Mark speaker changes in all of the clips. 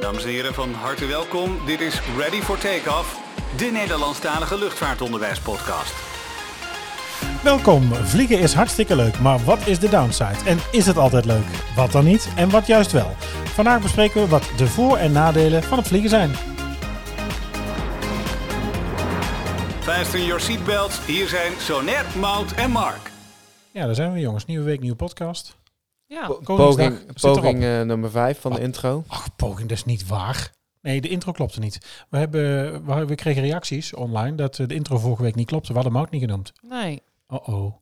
Speaker 1: Dames en heren, van harte welkom. Dit is Ready for Takeoff, de Nederlandstalige luchtvaartonderwijspodcast.
Speaker 2: Welkom. Vliegen is hartstikke leuk, maar wat is de downside? En is het altijd leuk? Wat dan niet en wat juist wel? Vandaag bespreken we wat de voor- en nadelen van het vliegen zijn.
Speaker 1: Fasten your seatbelts, hier zijn Sonet, Mout en Mark.
Speaker 2: Ja, daar zijn we jongens. Nieuwe week, nieuwe podcast.
Speaker 3: Ja,
Speaker 4: Po-
Speaker 2: Koningsdag zit
Speaker 4: Poging,
Speaker 2: erop. Ah.
Speaker 4: poging eh, nummer 5 van de intro.
Speaker 2: Ach, poging, dat is niet waar. Nee, de intro klopte niet. We, hebben, we- we kregen reacties online dat eh, de intro vorige week niet klopte. We hadden Mout niet genoemd.
Speaker 3: nee.
Speaker 2: Oh-oh.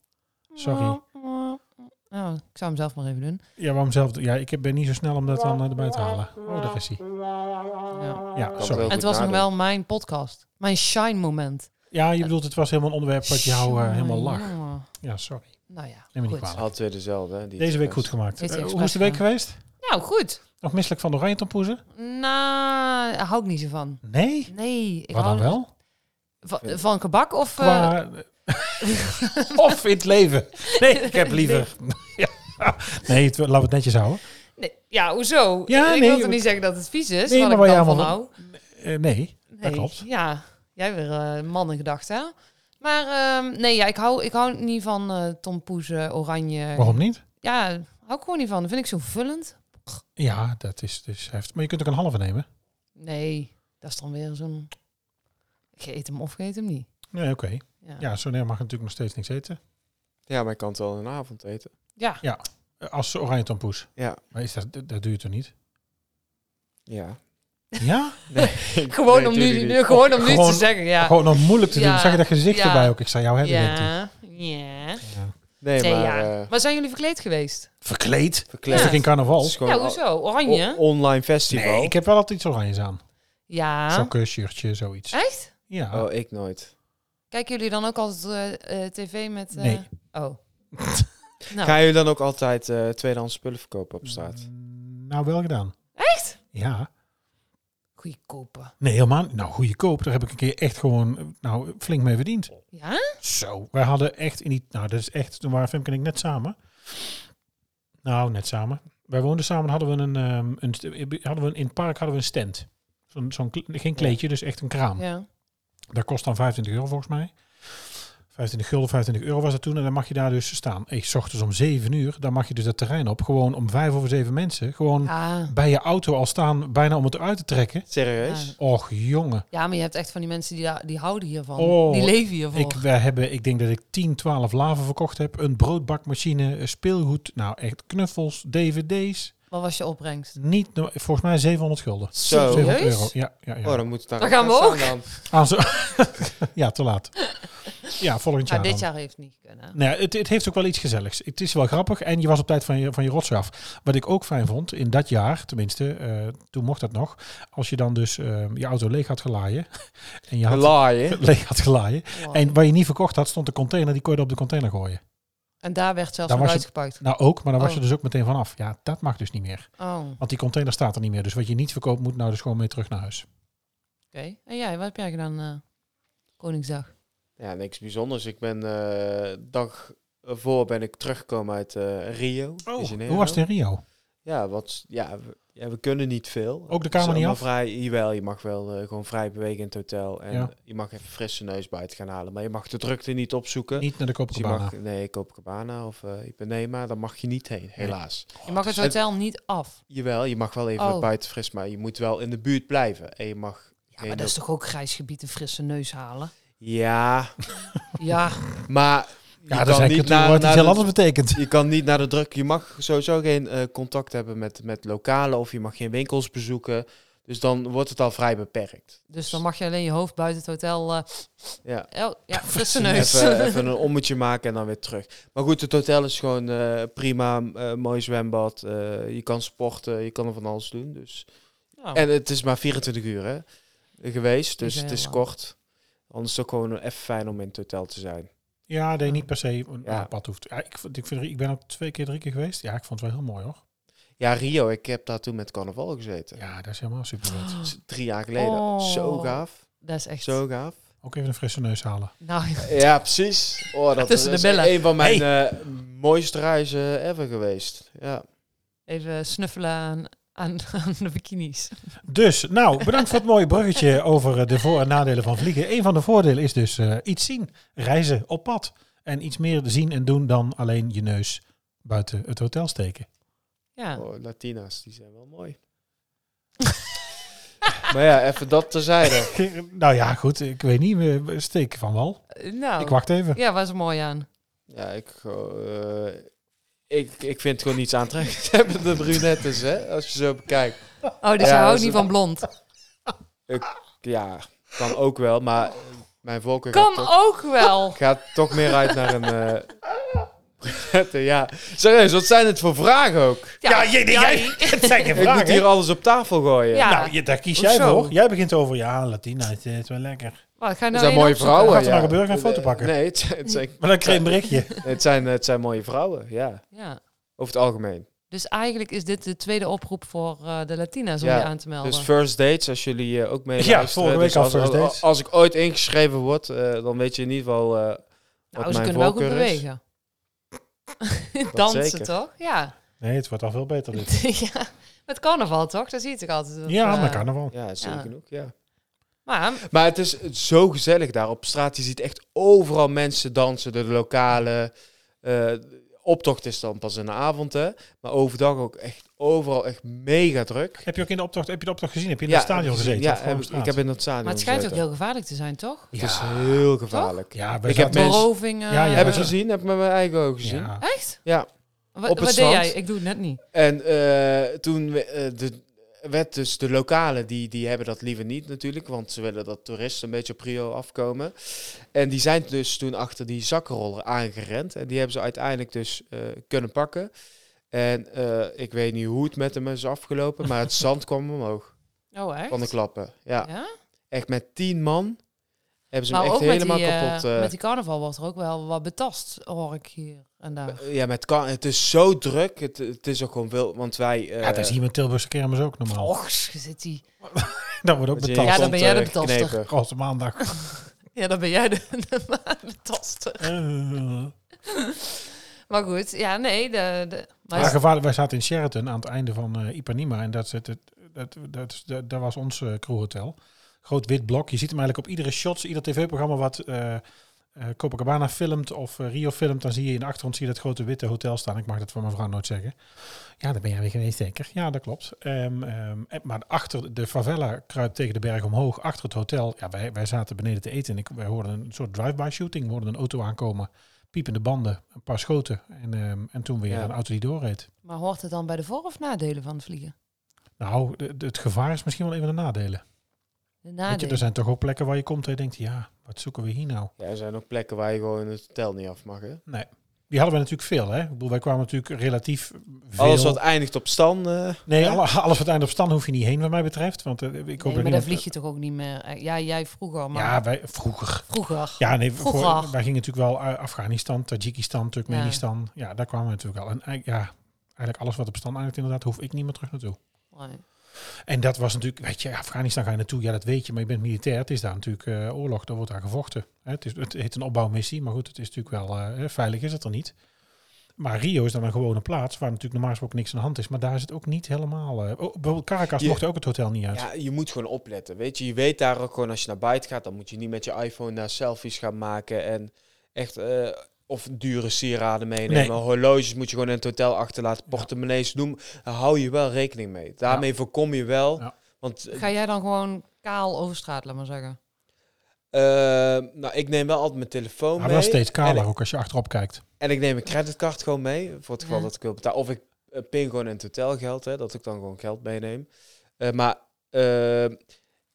Speaker 2: Sorry.
Speaker 3: Nou, ik zou hem zelf maar even doen.
Speaker 2: Ja, waarom zelf? Ja, ik heb- ben niet zo snel om dat dan eh, erbij te halen. Oh, daar is hij.
Speaker 3: Ja.
Speaker 2: Ja,
Speaker 4: Kan
Speaker 2: sorry.
Speaker 3: En
Speaker 4: wel.
Speaker 3: het was
Speaker 4: goed
Speaker 3: nog
Speaker 4: nadenken.
Speaker 3: wel mijn podcast. Mijn shine moment.
Speaker 2: Ja, je bedoelt, het was helemaal een onderwerp wat jou eh, helemaal lag.
Speaker 3: Jongen.
Speaker 2: Ja, sorry.
Speaker 3: Nou ja,
Speaker 2: Neem me niet
Speaker 3: goed.
Speaker 2: kwalijk.
Speaker 4: Had weer dezelfde. hè, die
Speaker 2: Deze week goed
Speaker 4: expres.
Speaker 2: gemaakt.
Speaker 3: Heeft hij
Speaker 2: Eh, hoe
Speaker 3: expres
Speaker 2: is de week
Speaker 3: gedaan.
Speaker 2: geweest?
Speaker 3: Nou, goed.
Speaker 2: Nog misselijk van de oranje tompoezen?
Speaker 3: Nou, daar hou ik niet zo van.
Speaker 2: Nee.
Speaker 3: Nee. Ik
Speaker 2: Wat dan
Speaker 3: hou
Speaker 2: wel?
Speaker 3: Van, van gebak of... eh,
Speaker 2: Qua... of in het leven. Nee, ik heb liever... Ja. nee, het, laten we het netjes houden.
Speaker 3: nee, ja, hoezo?
Speaker 2: Ja,
Speaker 3: ik
Speaker 2: nee,
Speaker 3: wil
Speaker 2: we-
Speaker 3: toch niet zeggen dat het vies is,
Speaker 2: Nee,
Speaker 3: wat
Speaker 2: maar
Speaker 3: ik
Speaker 2: waar
Speaker 3: dan
Speaker 2: jij
Speaker 3: van
Speaker 2: allemaal-
Speaker 3: hou.
Speaker 2: Eh, nee. Dat klopt.
Speaker 3: Ja, jij weer eh man in gedachten, hè? Maar ehm, nee, ja, ik, hou, ik hou niet van eh tompoezen, oranje.
Speaker 2: Waarom niet?
Speaker 3: Ja, hou ik gewoon niet van. Dat vind ik zo vullend.
Speaker 2: Ja, dat is dus heftig. Maar je kunt ook een halve nemen.
Speaker 3: Nee, dat is dan weer zo'n... Ik eet hem of ik eet hem niet.
Speaker 2: Nee, oké.
Speaker 3: Ja.
Speaker 2: Ja, zo nee, mag natuurlijk nog steeds niks eten.
Speaker 4: Ja, maar ik kan het wel een avond eten.
Speaker 3: Ja.
Speaker 2: Eh, Als oranje tompoes.
Speaker 4: Ja.
Speaker 2: Maar is dat, dat, dat doe je toch niet?
Speaker 4: Ja.
Speaker 2: Ja?
Speaker 4: Nee,
Speaker 3: Gewoon,
Speaker 4: nee,
Speaker 3: om nu,
Speaker 4: tuurlijk niet.
Speaker 3: gewoon om nu
Speaker 2: Gewoon-
Speaker 3: te zeggen, ja.
Speaker 2: Gewoon nog moeilijk te doen.
Speaker 3: Ja.
Speaker 2: Zag je dat gezicht
Speaker 3: Ja.
Speaker 2: erbij ook? Ik zou jou hebben. denkt hij.
Speaker 3: ja, ja.
Speaker 2: Ja.
Speaker 4: Nee,
Speaker 3: Nee,
Speaker 4: maar
Speaker 3: ja.
Speaker 4: eh,
Speaker 3: Maar zijn jullie verkleed geweest?
Speaker 2: Verkleed?
Speaker 4: verkleed.
Speaker 2: Is ik in carnaval?
Speaker 4: Het is gewoon
Speaker 3: Ja,
Speaker 4: al-
Speaker 2: oh,
Speaker 3: hoezo?
Speaker 4: o-
Speaker 3: Oranje?
Speaker 4: online festival.
Speaker 2: Nee, ik heb wel altijd iets oranjes aan.
Speaker 3: Ja.
Speaker 2: Sokken, shirtje, zoiets.
Speaker 3: Echt?
Speaker 2: Ja.
Speaker 4: Oh, ik nooit.
Speaker 3: Kijken jullie dan ook altijd eh, eh, tv met... eh,
Speaker 2: Nee.
Speaker 3: Oh. Nou.
Speaker 4: Ga je dan ook altijd eh, tweedehands spullen verkopen op straat?
Speaker 2: Mm, Nou, wel gedaan. Echt? Ja.
Speaker 3: Goeie kopen.
Speaker 2: Nee, helemaal niet. Nou, goede koop. Daar heb ik een keer echt gewoon eh, nou, flink mee verdiend.
Speaker 3: Ja?
Speaker 2: Zo. Wij hadden echt in die... Nou, dat is echt... Toen waren Femke en ik net samen. Nou, net samen. Wij woonden samen. Hadden we een... ehm, een st- hadden we een in het park hadden we een stand. Zo'n, zo'n, kle- geen kleedje, dus echt een kraam.
Speaker 3: Ja.
Speaker 2: Dat kost dan 25 euro volgens mij. 25 gulden, 25 euro was dat toen. En dan mag je daar dus staan. Ik s ochtends om 7 uur, dan mag je dus dat terrein op. Gewoon om 5 over 7 mensen. Gewoon
Speaker 3: Ja.
Speaker 2: bij je auto al staan, bijna om het eruit te trekken.
Speaker 4: Serieus?
Speaker 2: Och, jongen.
Speaker 3: ja, maar je hebt echt van die mensen die, daar- die houden hiervan.
Speaker 2: Oh,
Speaker 3: die leven hiervoor.
Speaker 2: Ik, wij hebben, ik denk dat ik 10, 12 laven verkocht heb. Een broodbakmachine, een speelgoed. Nou, echt knuffels, dvd's.
Speaker 3: Wat was je opbrengst?
Speaker 2: Niet, no- volgens mij 700 gulden.
Speaker 4: Zo.
Speaker 3: Serieus?
Speaker 2: 700 euro. Ja, ja, ja.
Speaker 4: Oh, dan moet het daar
Speaker 3: Dan
Speaker 4: een
Speaker 3: gaan we ook.
Speaker 4: fles aan dan.
Speaker 2: Aan zo- ja, te laat. Ja, volgend jaar.
Speaker 3: Nou,
Speaker 2: dan.
Speaker 3: dit jaar heeft het niet kunnen.
Speaker 2: Nou, het, het heeft ook wel iets gezelligs. Het is wel grappig en je was op tijd van je, van je rotzooi af. Wat ik ook fijn vond, in dat jaar, tenminste, eh, toen mocht dat nog. Als je dan dus eh, je auto leeg had gelaaien. En je had
Speaker 4: Laaien.
Speaker 2: leeg had gelaaien.
Speaker 3: Wow.
Speaker 2: En waar je niet verkocht had, stond de container. Die kon je er op de container gooien.
Speaker 3: En daar werd zelfs
Speaker 2: Daar
Speaker 3: nog
Speaker 2: was je-
Speaker 3: uitgepakt.
Speaker 2: Nou ook, maar dan was
Speaker 3: Oh.
Speaker 2: je dus ook meteen vanaf. Ja, dat mag dus niet meer.
Speaker 3: Oh, oké.
Speaker 2: Want die container staat er niet meer. Dus wat je niet verkoopt, moet nou dus gewoon mee terug naar huis.
Speaker 3: En jij, wat heb jij gedaan eh, Koningsdag?
Speaker 4: Ja, niks bijzonders. Ik ben eh, dag voor ben ik teruggekomen uit eh, Rio. de Janeiro.
Speaker 2: Oh, hoe was het in Rio?
Speaker 4: Ja, wat, ja, we, ja, we kunnen niet veel.
Speaker 2: Ook de
Speaker 4: Het is
Speaker 2: kamer niet
Speaker 4: allemaal
Speaker 2: af?
Speaker 4: Vrij, jawel, je mag wel eh, gewoon vrij bewegen in het hotel. En
Speaker 2: Ja.
Speaker 4: je mag even frisse neus buiten gaan halen. Maar je mag de drukte niet opzoeken.
Speaker 2: Niet naar de
Speaker 4: Dus je
Speaker 2: Copacabana.
Speaker 4: mag, nee, Copacabana of eh Ipanema, daar mag je niet heen, helaas.
Speaker 3: Je mag het hotel niet af.
Speaker 4: Jawel, je mag wel even
Speaker 3: Oh.
Speaker 4: buiten fris, maar je moet wel in de buurt blijven. En je mag...
Speaker 3: Ja, maar dat is toch ook grijs gebied een frisse neus halen?
Speaker 4: Ja,
Speaker 3: Ja,
Speaker 4: maar... je
Speaker 2: Ja,
Speaker 4: kan
Speaker 2: dat is eigenlijk
Speaker 4: niet
Speaker 2: het woord dat
Speaker 4: naar- naar
Speaker 2: iets heel
Speaker 4: de-
Speaker 2: anders betekent.
Speaker 4: Je kan niet naar de druk. Je mag sowieso geen eh, contact hebben met, met lokalen of je mag geen winkels bezoeken. Dus dan wordt het al vrij beperkt.
Speaker 3: dus dan mag je alleen je hoofd buiten het hotel... eh,
Speaker 4: Ja.
Speaker 3: oh, ja, frisse neus.
Speaker 4: Even, eh, even een ommetje maken en dan weer terug. Maar goed, het hotel is gewoon eh, prima. eh, mooi zwembad. eh, je kan sporten. Je kan er van alles doen. Dus.
Speaker 3: Nou,
Speaker 4: En het is maar 24 uur hè, geweest. Dus
Speaker 3: Is
Speaker 4: het
Speaker 3: heel
Speaker 4: is
Speaker 3: lang.
Speaker 4: kort. Anders is het ook gewoon even fijn om in het hotel te zijn.
Speaker 2: Ja, nee, niet per se een
Speaker 4: Ja.
Speaker 2: pad hoeft. Ja, ik, vond- ik, vind, ik ben ook twee keer, drie keer geweest. Ja, ik vond het wel heel mooi hoor.
Speaker 4: Ja, Rio, ik heb daar toen met carnaval gezeten.
Speaker 2: Ja, dat is helemaal super vet.
Speaker 4: Dat is Drie jaar geleden.
Speaker 3: Oh.
Speaker 4: Zo gaaf.
Speaker 3: dat is echt...
Speaker 4: Zo gaaf.
Speaker 2: Ook even een frisse neus halen.
Speaker 3: Nou,
Speaker 4: Ja, precies. Oh, dat
Speaker 3: Tussen de
Speaker 4: is
Speaker 3: billen.
Speaker 4: een van mijn eh, mooiste reizen ever geweest. Ja.
Speaker 3: even snuffelen aan aan, aan de bikinis.
Speaker 2: Dus, nou, bedankt voor het mooie bruggetje over eh, de voor- en nadelen van vliegen. Een van de voordelen is dus eh, iets zien, reizen op pad. En iets meer zien en doen dan alleen je neus buiten het hotel steken.
Speaker 3: Ja.
Speaker 4: Oh, Latina's, die zijn wel mooi. maar ja, even dat terzijde.
Speaker 2: Nou ja, goed, ik weet niet, we we steken van wel.
Speaker 3: Eh,
Speaker 4: Oh.
Speaker 3: Nou,
Speaker 2: Ik wacht even.
Speaker 3: ja, was er mooi aan.
Speaker 4: Ja, ik, eh, ik, ik vind het gewoon niets aantrekkelijk hebben de brunettes, hè. Als je zo bekijkt.
Speaker 3: Oh, dus
Speaker 4: Ja,
Speaker 3: je
Speaker 4: dat
Speaker 3: houdt
Speaker 4: is
Speaker 3: niet
Speaker 4: een-
Speaker 3: van blond.
Speaker 4: Ja, kan ook wel, maar mijn voorkeur gaat
Speaker 3: Kan
Speaker 4: toch-
Speaker 3: ook wel.
Speaker 4: gaat toch meer uit naar een. eh brunette, ja. Serieus, wat zijn het voor vragen ook?
Speaker 2: Ja, jij- jij- Het zijn geen
Speaker 4: Ik moet
Speaker 2: vragen.
Speaker 4: hier alles op tafel gooien.
Speaker 3: Ja.
Speaker 2: Nou, je- daar kies jij
Speaker 3: Hoezo?
Speaker 2: voor. Jij begint over, ja, Latina, het is wel lekker.
Speaker 3: Wat, ga je
Speaker 4: Het
Speaker 3: nou
Speaker 4: zijn
Speaker 3: één
Speaker 4: mooie
Speaker 3: opzoeken?
Speaker 4: vrouwen.
Speaker 2: Gaat er
Speaker 4: ja.
Speaker 2: maar gebeuren? Ga een foto
Speaker 4: Eh,
Speaker 2: pakken.
Speaker 4: Nee, het zijn, het, zijn,
Speaker 2: Maar dan kreeg je een berichtje.
Speaker 4: het, zijn, het zijn mooie vrouwen, ja.
Speaker 3: Ja.
Speaker 4: Over het algemeen.
Speaker 3: Dus eigenlijk is dit de tweede oproep voor eh, de Latina's om
Speaker 4: Ja,
Speaker 3: je aan te melden. Nou,
Speaker 4: Dus first dates, als jullie eh, ook mee
Speaker 2: Ja,
Speaker 4: luisteren,
Speaker 2: vorige week
Speaker 4: dus
Speaker 2: al
Speaker 4: als,
Speaker 2: first
Speaker 4: als-
Speaker 2: dates.
Speaker 4: Als ik ooit ingeschreven word, eh, dan weet je in ieder geval eh, wat
Speaker 3: nou, ze
Speaker 4: mijn
Speaker 3: kunnen wel goed
Speaker 4: voorkeur is.
Speaker 3: bewegen. Dansen
Speaker 4: zeker.
Speaker 3: toch? Ja.
Speaker 2: Nee, het wordt al veel beter dit.
Speaker 3: ja. Met carnaval toch? Daar zie je toch altijd. dat,
Speaker 2: Ja,
Speaker 3: eh,
Speaker 2: maar carnaval.
Speaker 4: Ja, zeker
Speaker 3: Ja.
Speaker 4: genoeg, ja.
Speaker 3: Maar
Speaker 4: Maar het is zo gezellig daar op straat. Je ziet echt overal mensen dansen. De lokale eh, optocht is dan pas in de avond, hè. Maar overdag ook echt overal echt mega druk.
Speaker 2: Heb je ook in de optocht, heb je de optocht gezien? Heb je in het stadion gezeten?
Speaker 4: Ja,
Speaker 2: Of gewoon
Speaker 4: heb
Speaker 2: op
Speaker 4: ik,
Speaker 2: straat?
Speaker 4: ik heb in het stadion
Speaker 3: Maar het schijnt ook
Speaker 4: gezeten.
Speaker 3: heel gevaarlijk te zijn, toch?
Speaker 4: Het is
Speaker 2: Ja.
Speaker 4: heel gevaarlijk.
Speaker 2: Ja,
Speaker 4: Ik heb mensen-
Speaker 3: Beroving. eh,
Speaker 2: Ja, ja.
Speaker 4: heb ik
Speaker 2: ze-
Speaker 4: gezien, heb ik met mijn eigen ogen gezien. Eh, Ja.
Speaker 2: Ja.
Speaker 3: Echt? Wat,
Speaker 4: Op het
Speaker 3: wat deed
Speaker 4: strand.
Speaker 3: jij? Ik doe het net niet.
Speaker 4: En eh, toen we- eh, de, werd dus de lokalen, die, die hebben dat liever niet natuurlijk, want ze willen dat toeristen een beetje op Rio afkomen. En die zijn dus toen achter die zakkenroller aangerend en die hebben ze uiteindelijk dus eh, kunnen pakken. En eh, ik weet niet hoe het met hem is afgelopen, maar het zand kwam omhoog
Speaker 3: Oh, echt?
Speaker 4: van de klappen. Ja,
Speaker 3: Ja?
Speaker 4: echt met tien man hebben ze
Speaker 3: Maar
Speaker 4: hem echt
Speaker 3: ook met die,
Speaker 4: helemaal
Speaker 3: eh,
Speaker 4: kapot. eh,
Speaker 3: met die carnaval wordt er ook wel wat betast, hoor ik hier en daar.
Speaker 4: Ja, maar het, kan, het is zo druk. Het, het is ook gewoon veel. Want wij. eh,
Speaker 2: Ja, dat is hier met Tilburgse kermis ook
Speaker 4: Oh.
Speaker 2: normaal.
Speaker 3: Och, zit die.
Speaker 2: Dat wordt ook
Speaker 4: met je
Speaker 2: betaald.
Speaker 3: Ja, dan
Speaker 4: kont,
Speaker 3: ben jij de
Speaker 4: eh,
Speaker 3: betaster.
Speaker 4: knepen.
Speaker 2: Grote maandag.
Speaker 3: Ja, dan ben jij de, de betaster.
Speaker 2: Eh.
Speaker 3: Maar goed, ja, nee. De, de, maar
Speaker 2: Ja,
Speaker 3: is-
Speaker 2: gevaarlijk. Wij zaten in Sheraton aan het einde van eh, Ipanema. En dat, zit het, dat, dat, dat, dat was ons eh, crewhotel. Groot wit blok. Je ziet hem eigenlijk op iedere shot, ieder tv-programma wat eh, eh, Copacabana filmt of eh, Rio filmt. Dan zie je in de achtergrond zie je dat grote witte hotel staan. Ik mag dat van mijn vrouw nooit zeggen. Ja, daar ben jij weer geweest zeker. Ja, dat klopt. Ehm, ehm, en- maar achter de favela kruipt tegen de berg omhoog. Achter het hotel. Ja, wij, wij zaten beneden te eten. En ik, wij hoorden een soort drive-by shooting. We hoorden een auto aankomen. Piepende banden, een paar schoten en, ehm, en toen weer
Speaker 4: Ja.
Speaker 2: een auto die doorreed.
Speaker 3: maar hoort het dan bij de voor- of nadelen van het vliegen?
Speaker 2: Nou, de- de- het gevaar is misschien wel een van de nadelen.
Speaker 3: De
Speaker 2: Weet je,
Speaker 4: dus,
Speaker 3: nadelen.
Speaker 2: er zijn toch ook plekken waar je komt en je denkt, ja, wat zoeken we hier nou?
Speaker 4: Ja, er zijn ook plekken waar je gewoon het hotel niet af mag. Hè?
Speaker 2: Die hadden we natuurlijk veel, hè? Ik bedoel, wij kwamen natuurlijk relatief veel...
Speaker 4: Alles wat eindigt op stand. eh,
Speaker 2: nee,
Speaker 4: hè?
Speaker 2: alle- alles wat eind op stand hoef je niet heen, wat mij betreft. Want eh, ik hoop
Speaker 3: nee, maar
Speaker 2: dat
Speaker 3: daar
Speaker 2: niemand-
Speaker 3: vlieg je toch ook niet meer. eh, Ja, jij vroeger, maar
Speaker 2: Ja, wij, vroeger.
Speaker 3: vroeger.
Speaker 2: Ja, nee, voor-
Speaker 3: Vroeger.
Speaker 2: wij gingen natuurlijk wel eh, Afghanistan, Tajikistan, Turkmenistan. Ja. daar kwamen we natuurlijk al. En eigenlijk- ja, eigenlijk alles wat op stand eindigt inderdaad, hoef ik niet meer terug naartoe.
Speaker 3: Nee.
Speaker 2: En dat was natuurlijk, weet je, Afghanistan ga je naartoe, ja dat weet je, maar je bent militair, het is daar natuurlijk eh, oorlog, er wordt daar gevochten. Hè, het, is, het heet een opbouwmissie, maar goed, het is natuurlijk wel, eh, hè, veilig is het er niet. Maar Rio is dan een gewone plaats waar natuurlijk normaal gesproken niks aan de hand is, maar daar is het ook niet helemaal... eh, oh, bijvoorbeeld Caracas
Speaker 4: Je-
Speaker 2: mocht ook het hotel niet uit.
Speaker 4: Ja, je moet gewoon opletten. Weet je, je weet daar ook gewoon als je naar buiten gaat, dan moet je niet met je iPhone daar selfies gaan maken. En echt. eh, of dure sieraden meenemen.
Speaker 2: Nee.
Speaker 4: Horloges moet je gewoon in het hotel achterlaten. Portemonnees doen. Daar hou je wel rekening mee. Daarmee voorkom je wel.
Speaker 2: Ja.
Speaker 4: Want eh,
Speaker 3: Ga jij dan gewoon kaal over straat, laat maar zeggen?
Speaker 4: eh, nou, ik neem wel altijd mijn telefoon
Speaker 2: maar
Speaker 4: mee.
Speaker 2: wel steeds
Speaker 4: En-
Speaker 2: kaler ook als je achterop kijkt.
Speaker 4: En ik neem een creditcard gewoon mee, voor het geval
Speaker 3: Ja.
Speaker 4: dat ik wil betalen. Of ik eh, pin gewoon in het hotelgeld, hè, dat ik dan gewoon geld meeneem. Eh, maar eh,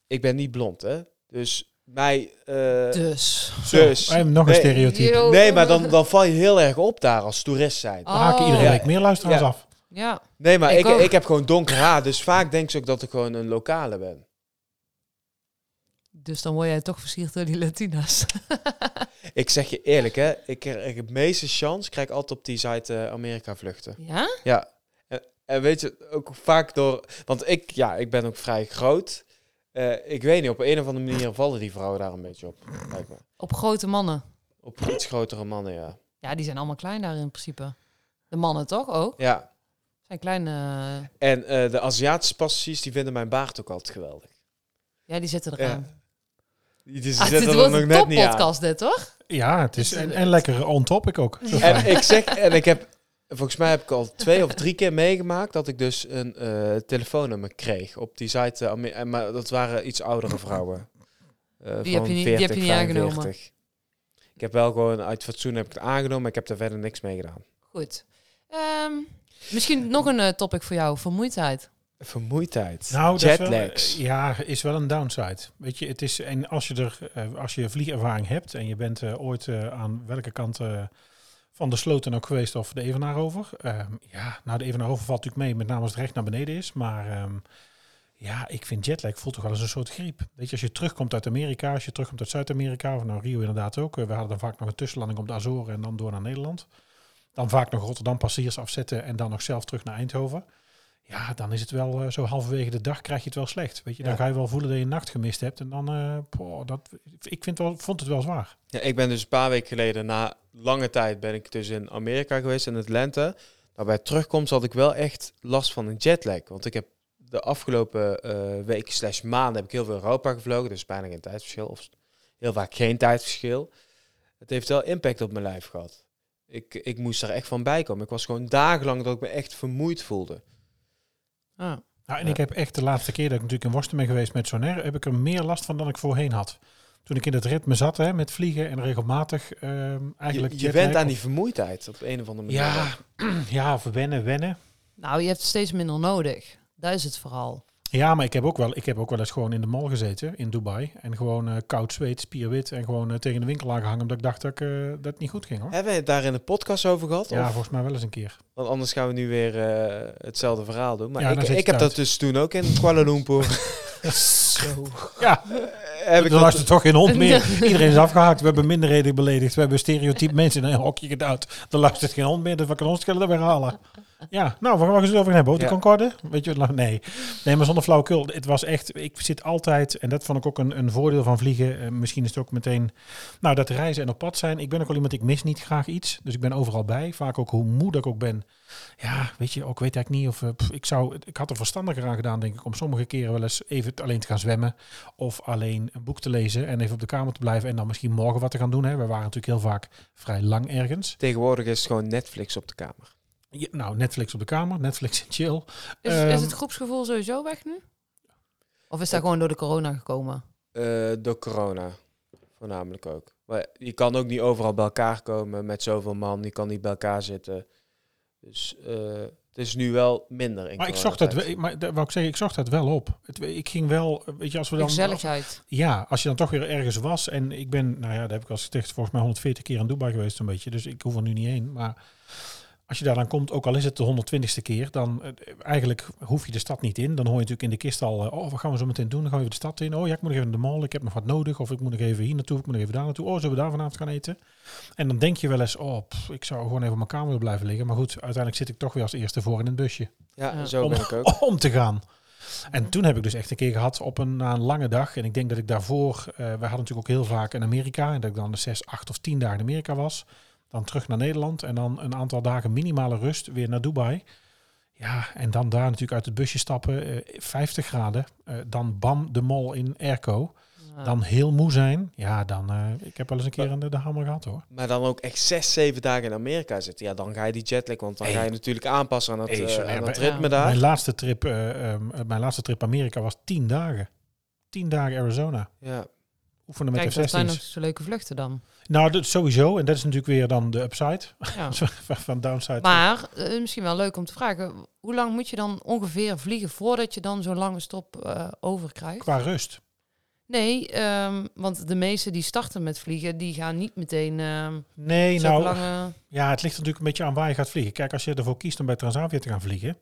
Speaker 4: ik ben niet blond, hè. Dus mij... eh,
Speaker 3: Dus.
Speaker 4: Dus.
Speaker 2: Zo, eh, nog een
Speaker 4: Nee.
Speaker 2: stereotype.
Speaker 3: Yo.
Speaker 4: nee, maar dan, dan val je heel erg op daar als toerist zijn.
Speaker 2: We haken iedere
Speaker 4: Ja.
Speaker 2: week meer luisteraars
Speaker 4: Ja.
Speaker 2: af.
Speaker 3: Ja.
Speaker 4: Nee, maar
Speaker 3: Oh. Ik
Speaker 4: ik, ik,
Speaker 3: ook.
Speaker 4: heb gewoon donker haar, dus vaak denk ze ook dat ik gewoon een lokale ben.
Speaker 3: Dus dan word jij toch versierd door die Latina's.
Speaker 4: Ik zeg je eerlijk, hè. Ik krijg de meeste chance, krijg ik altijd op die Zuid-Amerika vluchten.
Speaker 3: ja?
Speaker 4: Ja. En, en weet je, ook vaak door... Want ik, ja, ik ben ook vrij groot. Eh, ik weet niet, op een of andere manier vallen die vrouwen daar een beetje op. lijkt me.
Speaker 3: Op grote mannen.
Speaker 4: Op iets grotere mannen, ja.
Speaker 3: Ja, die zijn allemaal klein daar in principe. De mannen toch ook?
Speaker 4: Ja.
Speaker 3: Zijn kleine...
Speaker 4: En eh, de Aziatische passagiers die vinden mijn baard ook altijd geweldig.
Speaker 3: Ja, die zitten
Speaker 4: Ja.
Speaker 3: eraan.
Speaker 4: Die die
Speaker 3: Ah,
Speaker 4: zetten
Speaker 3: dit
Speaker 4: er
Speaker 3: wordt
Speaker 4: nog
Speaker 3: een
Speaker 4: net niet aan.
Speaker 3: toppodcast dit, hoor.
Speaker 2: Ja, het is, en, en lekker on-topic ook. Zo fijn.
Speaker 4: En ik zeg, en ik heb, volgens mij heb ik al twee of drie keer meegemaakt dat ik dus een eh, telefoonnummer kreeg op die site. eh, Ame- en maar dat waren iets oudere vrouwen. Eh,
Speaker 3: Die heb
Speaker 4: van
Speaker 3: je niet- die heb je niet aangenomen.
Speaker 4: Ik heb wel gewoon uit fatsoen heb ik het aangenomen, maar ik heb daar verder niks mee gedaan.
Speaker 3: Goed. Ehm, misschien nog een eh, topic voor jou. Vermoeidheid.
Speaker 4: Vermoeidheid.
Speaker 2: Nou, dat is wel-
Speaker 4: Jetlags.
Speaker 2: ja, is wel een downside. Weet je, het is, en als je, er, eh, als je vliegervaring hebt en je bent eh, ooit eh, aan welke kant eh, van de sloot dan ook geweest of de Evenaar-over. ehm, ja, nou, de Evenaar-over valt natuurlijk mee, met name als het recht naar beneden is. Maar ehm, ja, ik vind jetlag voelt toch wel eens een soort griep. Weet je, als je terugkomt uit Amerika, als je terugkomt uit Zuid-Amerika, of nou Rio inderdaad ook. eh, we hadden dan vaak nog een tussenlanding op de Azoren en dan door naar Nederland. Dan vaak nog Rotterdam passiers afzetten en dan nog zelf terug naar Eindhoven. Ja, dan is het wel eh, zo halverwege de dag krijg je het wel slecht. Weet je, dan
Speaker 4: Ja.
Speaker 2: ga je wel voelen dat je een nacht gemist hebt. En dan, eh poh, dat, ik vind wel, vond het wel zwaar.
Speaker 4: Ja, ik ben dus een paar weken geleden, na lange tijd, ben ik dus in Amerika geweest, in Atlanta. Nou, bij terugkomst had ik wel echt last van een jetlag. Want ik heb de afgelopen eh week slash maanden heb ik heel veel Europa gevlogen. Dus bijna geen tijdverschil. Of heel vaak geen tijdverschil. Het heeft wel impact op mijn lijf gehad. Ik, ik moest er echt van bijkomen. Ik was gewoon dagenlang dat ik me echt vermoeid voelde.
Speaker 3: Ah.
Speaker 2: Nou, en
Speaker 4: Ja.
Speaker 2: ik heb echt de laatste keer dat ik natuurlijk in Worsten ben geweest met Sonair, heb ik er meer last van dan ik voorheen had. Toen ik in dat ritme zat hè, met vliegen en regelmatig ehm, eigenlijk...
Speaker 4: Je, je
Speaker 2: jetlag
Speaker 4: bent aan
Speaker 2: of-
Speaker 4: die vermoeidheid op een of andere manier.
Speaker 2: Ja, ja, verwennen, wennen.
Speaker 3: Nou, je hebt steeds minder nodig. Dat is het vooral.
Speaker 2: Ja, maar ik heb ook wel, ik heb ook wel eens gewoon in de mall gezeten in Dubai. En gewoon eh, koud zweet, spierwit en gewoon eh, tegen de winkel aangehangen. Omdat ik dacht dat, ik, eh, dat het niet goed ging hoor.
Speaker 4: Hebben we het daar in de podcast over gehad?
Speaker 2: Ja,
Speaker 4: Of-
Speaker 2: volgens mij wel eens een keer.
Speaker 4: Want anders gaan we nu weer eh, hetzelfde verhaal doen. Maar
Speaker 2: Ja, dan
Speaker 4: ik,
Speaker 2: zit je
Speaker 4: ik heb
Speaker 2: thuis.
Speaker 4: dat dus toen ook in Kuala Lumpur.
Speaker 3: Zo.
Speaker 2: Ja,
Speaker 4: heb ik
Speaker 2: er was er
Speaker 4: dat,
Speaker 2: toch geen hond meer. Iedereen is afgehaakt. We hebben minderheden beledigd. We hebben stereotyp mensen in een hokje gedouwd. Er luistert geen hond meer, dus we kunnen ons schillen weer halen. Ja, nou, waar gaan we het over gaan hebben? Over de
Speaker 4: Ja.
Speaker 2: Concorde? Weet je, wat, nou, nee. Nee, maar zonder flauwekul. Het was echt, ik zit altijd, en dat vond ik ook een, een voordeel van vliegen. eh, misschien is het ook meteen, nou, dat reizen en op pad zijn. Ik ben ook wel iemand, ik mis niet graag iets. Dus ik ben overal bij. Vaak ook hoe moe dat ik ook ben. Ja, weet je, ook weet ik niet of, eh, pff, ik zou, ik had er verstandiger aan gedaan, denk ik, om sommige keren wel eens even alleen te gaan zwemmen. Of alleen een boek te lezen en even op de kamer te blijven en dan misschien morgen wat te gaan doen. Hè. We waren natuurlijk heel vaak vrij lang ergens.
Speaker 4: tegenwoordig is het gewoon Netflix op de kamer.
Speaker 2: Je- nou, Netflix op de kamer, Netflix en chill.
Speaker 3: Is,
Speaker 2: Ehm.
Speaker 3: is het groepsgevoel sowieso weg nu? Of is dat gewoon door de corona gekomen?
Speaker 4: Eh, door corona voornamelijk ook. Maar je kan ook niet overal bij elkaar komen met zoveel man. Je kan niet bij elkaar zitten. Dus eh, het is nu wel minder. In
Speaker 2: Maar ik zocht dat,
Speaker 4: coronatijd.
Speaker 2: we- maar dat wou ik zeggen, ik zocht dat wel op. Het, ik ging wel, eh, weet je, als we
Speaker 3: De
Speaker 2: dan
Speaker 3: gezelligheid.
Speaker 2: Ja, als je dan toch weer ergens was. En ik ben, nou ja, daar heb ik al eens gezegd, volgens mij 140 keer in Dubai geweest een beetje. Dus ik hoef er nu niet heen. Maar als je daar dan komt, ook al is het de 120ste keer, dan eh, eigenlijk hoef je de stad niet in. Dan hoor je natuurlijk in de kist al, eh, oh, wat gaan we zo meteen doen? Dan gaan we even de stad in. Oh ja, ik moet nog even naar de mall, ik heb nog wat nodig. Of ik moet nog even hier naartoe, ik moet nog even daar naartoe. Oh, zullen we daar vanavond gaan eten? En dan denk je wel eens, oh, pff, ik zou gewoon even op mijn kamer willen blijven liggen. Maar goed, uiteindelijk zit ik toch weer als eerste voor in een busje
Speaker 4: Ja,
Speaker 3: Ja.
Speaker 4: zo
Speaker 2: Om-
Speaker 4: ben ik ook.
Speaker 2: om te gaan. En toen heb ik dus echt een keer gehad op een, na een lange dag. En ik denk dat ik daarvoor, eh we hadden natuurlijk ook heel vaak in Amerika. En dat ik dan de zes, acht of tien dagen in Amerika was. Dan terug naar Nederland. En dan een aantal dagen minimale rust weer naar Dubai. Ja, en dan daar natuurlijk uit het busje stappen. eh 50 graden. eh, dan bam, de mol in airco.
Speaker 3: Ja.
Speaker 2: Dan heel moe zijn. Ja, dan, eh, ik heb wel eens een keer aan de, de hamer gehad hoor.
Speaker 4: Maar dan ook echt zes, zeven dagen in Amerika zitten. Ja, dan ga je die jetlag. Want dan
Speaker 2: Hey.
Speaker 4: ga je natuurlijk aanpassen aan dat,
Speaker 2: Hey,
Speaker 4: eh,
Speaker 2: Soler,
Speaker 4: aan dat
Speaker 3: wij-
Speaker 4: ritme
Speaker 2: Mijn
Speaker 4: daar.
Speaker 2: laatste, trip, eh, ehm, mijn laatste trip Amerika was 10 dagen. 10 dagen Arizona.
Speaker 4: Ja.
Speaker 2: Oefenen met
Speaker 3: Kijk, dat zijn nog
Speaker 2: F-16's.
Speaker 3: zo leuke vluchten dan.
Speaker 2: Nou, dat sowieso. En dat is natuurlijk weer dan de upside.
Speaker 3: Ja.
Speaker 2: Van downside.
Speaker 3: Maar eh, misschien wel leuk om te vragen. Hoe lang moet je dan ongeveer vliegen voordat je dan zo'n lange stop eh overkrijgt?
Speaker 2: Qua rust.
Speaker 3: Nee, ehm, want de meesten die starten met vliegen, die gaan niet meteen ehm
Speaker 2: Nee,
Speaker 3: zo'n
Speaker 2: nou...
Speaker 3: lange...
Speaker 2: Ja, het ligt natuurlijk een beetje aan waar je gaat vliegen. Kijk, als je ervoor kiest om bij Transavia te gaan vliegen...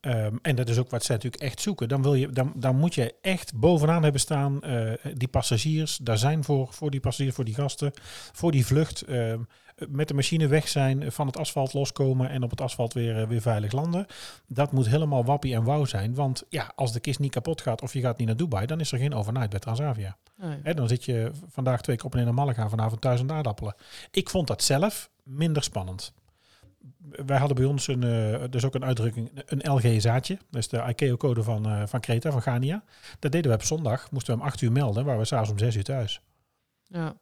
Speaker 2: ehm, en dat is ook wat zij natuurlijk echt zoeken... dan, wil je, dan, dan moet je echt bovenaan hebben staan... eh, die passagiers, daar zijn voor, voor die passagiers, voor die gasten... voor die vlucht... ehm, met de machine weg zijn, van het asfalt loskomen... en op het asfalt weer, eh, weer veilig landen. Dat moet helemaal wappie en wauw zijn. Want ja, als de kist niet kapot gaat of je gaat niet naar Dubai... dan is er geen overnight bij Transavia.
Speaker 3: Nee.
Speaker 2: Hè, dan zit je v- vandaag twee keer op en in de mallen gaan, vanavond duizend aardappelen. Ik vond dat zelf minder spannend. wij hadden bij ons een, eh, dus ook een uitdrukking, een LG-zaadje. Dat is de ICAO-code van, eh van Creta, van Gania. Dat deden we op zondag, moesten we om 8 uur melden, waren we s'avonds om 6 uur thuis.
Speaker 3: Ja.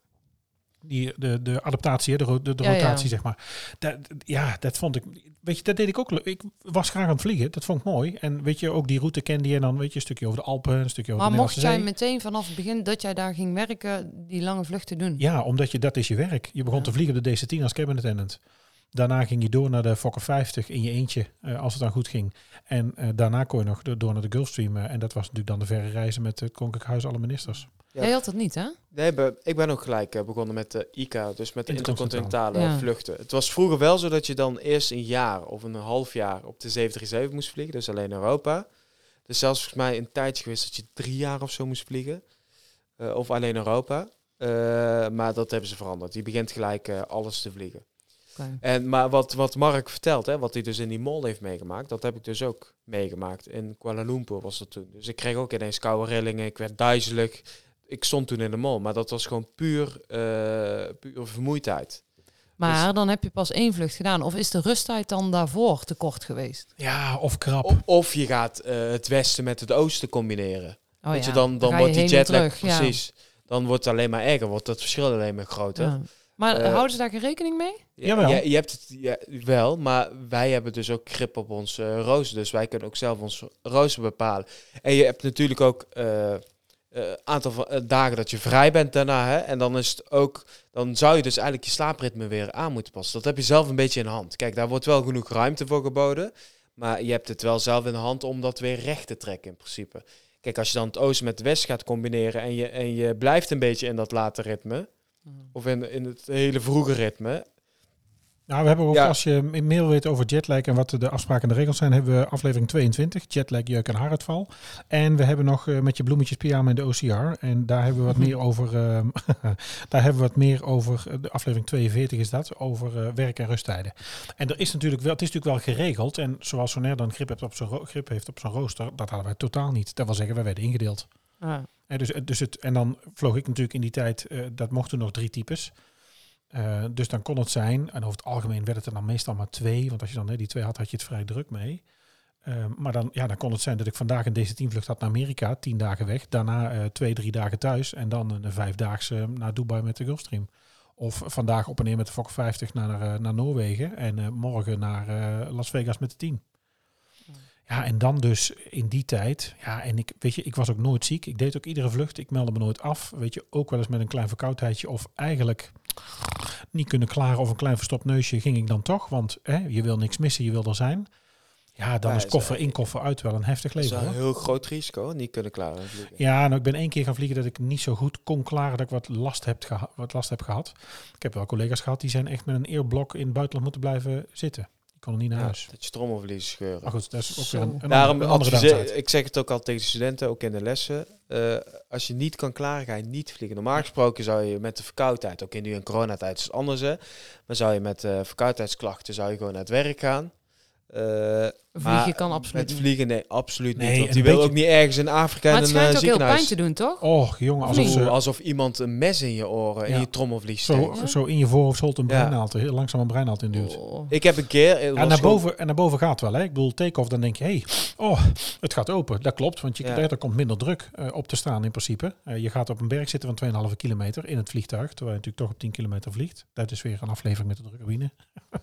Speaker 2: Die, de, de adaptatie, hè, de, ro- de, de
Speaker 3: Ja, ja.
Speaker 2: rotatie, zeg maar. Dat, ja, dat vond ik. Weet je, dat deed ik ook. leuk. Ik was graag aan het vliegen, dat vond ik mooi. En weet je, ook die route kende je en dan, weet je, een stukje over de Alpen, een stukje over
Speaker 3: Maar
Speaker 2: de
Speaker 3: mocht jij
Speaker 2: Nederlandse Zee.
Speaker 3: meteen vanaf het begin dat jij daar ging werken, die lange vluchten doen?
Speaker 2: Ja, omdat je, dat is je werk. Je begon
Speaker 3: Ja.
Speaker 2: te vliegen op de DC-10 als cabin attendant. Daarna ging je door naar de Fokker 50 in je eentje, eh, als het dan goed ging. En eh, daarna kon je nog do- door naar de Gulfstream. eh, en dat was natuurlijk dan de verre reizen met het Koninklijk Huis alle ministers.
Speaker 4: Ja.
Speaker 3: Jij had dat niet, hè?
Speaker 4: Nee, be- ik ben ook gelijk eh, begonnen met de ICA, dus met de
Speaker 2: Intercontinentale.
Speaker 4: intercontinentale
Speaker 3: Ja.
Speaker 4: vluchten. Het was vroeger wel zo dat je dan eerst een jaar of een half jaar op de 737 moest vliegen, dus alleen Europa. Dus zelfs volgens mij een tijdje geweest dat je drie jaar of zo moest vliegen, eh, of alleen Europa. Eh, maar dat hebben ze veranderd. Je begint gelijk eh, alles te vliegen.
Speaker 3: Oké.
Speaker 4: En, maar wat, wat Mark vertelt, hè, wat hij dus in die mall heeft meegemaakt, dat heb ik dus ook meegemaakt. In Kuala Lumpur was dat toen. Dus ik kreeg ook ineens koude rillingen, ik werd duizelig. Ik stond toen in de mall, maar dat was gewoon puur, eh, puur vermoeidheid. dus-
Speaker 3: Maar dan heb je pas één vlucht gedaan. Of is de rusttijd dan daarvoor te kort geweest?
Speaker 2: Ja, of krap.
Speaker 4: O- of je gaat eh, het westen met het oosten combineren.
Speaker 3: Oh,
Speaker 4: Weet je,
Speaker 3: ja.
Speaker 4: dan, dan
Speaker 3: ga je
Speaker 4: wordt die
Speaker 3: heen en
Speaker 4: jetlag,
Speaker 3: terug, ja.
Speaker 4: precies. Dan wordt het alleen maar erger, wordt dat verschil alleen maar groter.
Speaker 3: Ja. Maar
Speaker 4: Eh,
Speaker 3: houden ze daar geen rekening mee?
Speaker 4: Ja,
Speaker 2: Jawel.
Speaker 4: Je, je hebt het ja, wel, maar wij hebben dus ook grip op onze eh, rooster. Dus wij kunnen ook zelf onze rooster bepalen. En je hebt natuurlijk ook eh eh, aantal van, eh, dagen dat je vrij bent daarna. Hè? En dan is het ook, dan zou je dus eigenlijk je slaapritme weer aan moeten passen. Dat heb je zelf een beetje in de hand. Kijk, daar wordt wel genoeg ruimte voor geboden. Maar je hebt het wel zelf in de hand om dat weer recht te trekken in principe. Kijk, als je dan het oosten met het west gaat combineren en je, en je blijft een beetje in dat late ritme. Of in, in het hele vroege ritme.
Speaker 2: Nou, we hebben ook,
Speaker 4: Ja.
Speaker 2: als je in mail weet over jetlag en wat de afspraken en de regels zijn, hebben we aflevering 22, jetlag, jeuk en haaruitval. En we hebben nog eh, met je bloemetjes pyjama in de OCR. En daar hebben we wat meer over, ehm, daar hebben we wat meer over, eh, de aflevering 42 is dat, over eh, werk en rusttijden. En er is natuurlijk wel, het is natuurlijk wel geregeld. En zoals Soner dan grip heeft op zijn, ro- grip heeft op zijn rooster, dat hadden wij totaal niet. Dat wil zeggen, wij werden ingedeeld.
Speaker 3: Ja.
Speaker 2: Hè, dus, dus het, en dan vloog ik natuurlijk in die tijd, eh, dat mochten nog drie types. Eh, dus dan kon het zijn, en over het algemeen werd het er dan meestal maar twee, want als je dan hè, die twee had, had je het vrij druk mee. Eh, maar dan, ja, dan kon het zijn dat ik vandaag een DC-10-vlucht had naar Amerika, tien dagen weg, daarna eh, twee, drie dagen thuis en dan een, vijfdaagse eh, naar Dubai met de Gulfstream. Of vandaag op en neer met de Fokker 50 naar, eh, naar Noorwegen en eh, morgen naar eh, Las Vegas met de 10.
Speaker 4: Mm.
Speaker 2: Ja, en dan dus in die tijd. Ja, en ik weet je, ik was ook nooit ziek. Ik deed ook iedere vlucht. Ik meldde me nooit af. Weet je, ook wel eens met een klein verkoudheidje of eigenlijk niet kunnen klaren of een klein verstopt neusje ging ik dan toch. Want hè, je wil niks missen, je wil er zijn. Ja, dan
Speaker 4: Ja,
Speaker 2: is
Speaker 4: is,
Speaker 2: koffer
Speaker 4: eh,
Speaker 2: in, koffer uit wel een heftig
Speaker 4: Dat is
Speaker 2: leven.
Speaker 4: wel
Speaker 2: Hoor.
Speaker 4: een heel groot risico, niet kunnen klaren. vliegen.
Speaker 2: Ja, nou, ik ben één keer gaan vliegen dat ik niet zo goed kon klaren dat ik wat last heb, geha- wat last heb gehad. Ik heb wel collega's gehad die zijn echt met een eerblok in het buitenland moeten blijven zitten. Die konden niet naar
Speaker 4: Ja,
Speaker 2: huis.
Speaker 4: dat je trommelverlies scheuren.
Speaker 2: Maar goed, dat is ook
Speaker 3: Zo.
Speaker 2: weer een, een
Speaker 4: Daarom
Speaker 2: andere, een andere
Speaker 4: adviseer-
Speaker 2: downside.
Speaker 4: ik zeg het ook al tegen de studenten, ook in de lessen. eh, als je niet kan klaren, ga je niet vliegen. Normaal gesproken zou je met de verkoudheid, ook in nu in coronatijd is het anders hè. Maar zou je met eh, verkoudheidsklachten, zou je gewoon naar het werk gaan. Eh,
Speaker 3: Vliegen
Speaker 4: maar
Speaker 3: kan absoluut
Speaker 4: Met
Speaker 3: niet.
Speaker 4: vliegen, nee, absoluut
Speaker 2: Nee,
Speaker 4: niet. Want
Speaker 2: een
Speaker 4: die wil
Speaker 2: beetje-
Speaker 4: ook niet ergens in Afrika
Speaker 3: Maar
Speaker 4: in
Speaker 3: het
Speaker 4: een eh,
Speaker 3: schijnt ook heel
Speaker 4: ziekenhuis.
Speaker 3: pijn te doen, toch?
Speaker 2: Och, jongen, alsof
Speaker 4: Oeh,
Speaker 2: ze
Speaker 4: alsof iemand een mes in je oren, in
Speaker 2: Ja.
Speaker 4: je trommelvlies steekt.
Speaker 2: zo, zo in je voorhoofd holt een
Speaker 4: Ja.
Speaker 2: breinaald, heel langzaam een breinaald induwt.
Speaker 3: Oh.
Speaker 4: Ik heb een keer... eh, het
Speaker 2: En
Speaker 4: was
Speaker 2: naar,
Speaker 4: gewoon-
Speaker 2: boven, en naar boven gaat wel. Hè? Ik bedoel, take-off, dan denk je, hé, hey, oh, het gaat open. Dat klopt, want je,
Speaker 4: Ja.
Speaker 2: daar komt minder druk eh, op te staan in principe. Eh, je gaat op een berg zitten van 2,5 kilometer in het vliegtuig, terwijl je natuurlijk toch op 10 kilometer vliegt. Dat is weer een aflevering met de drukke wielen.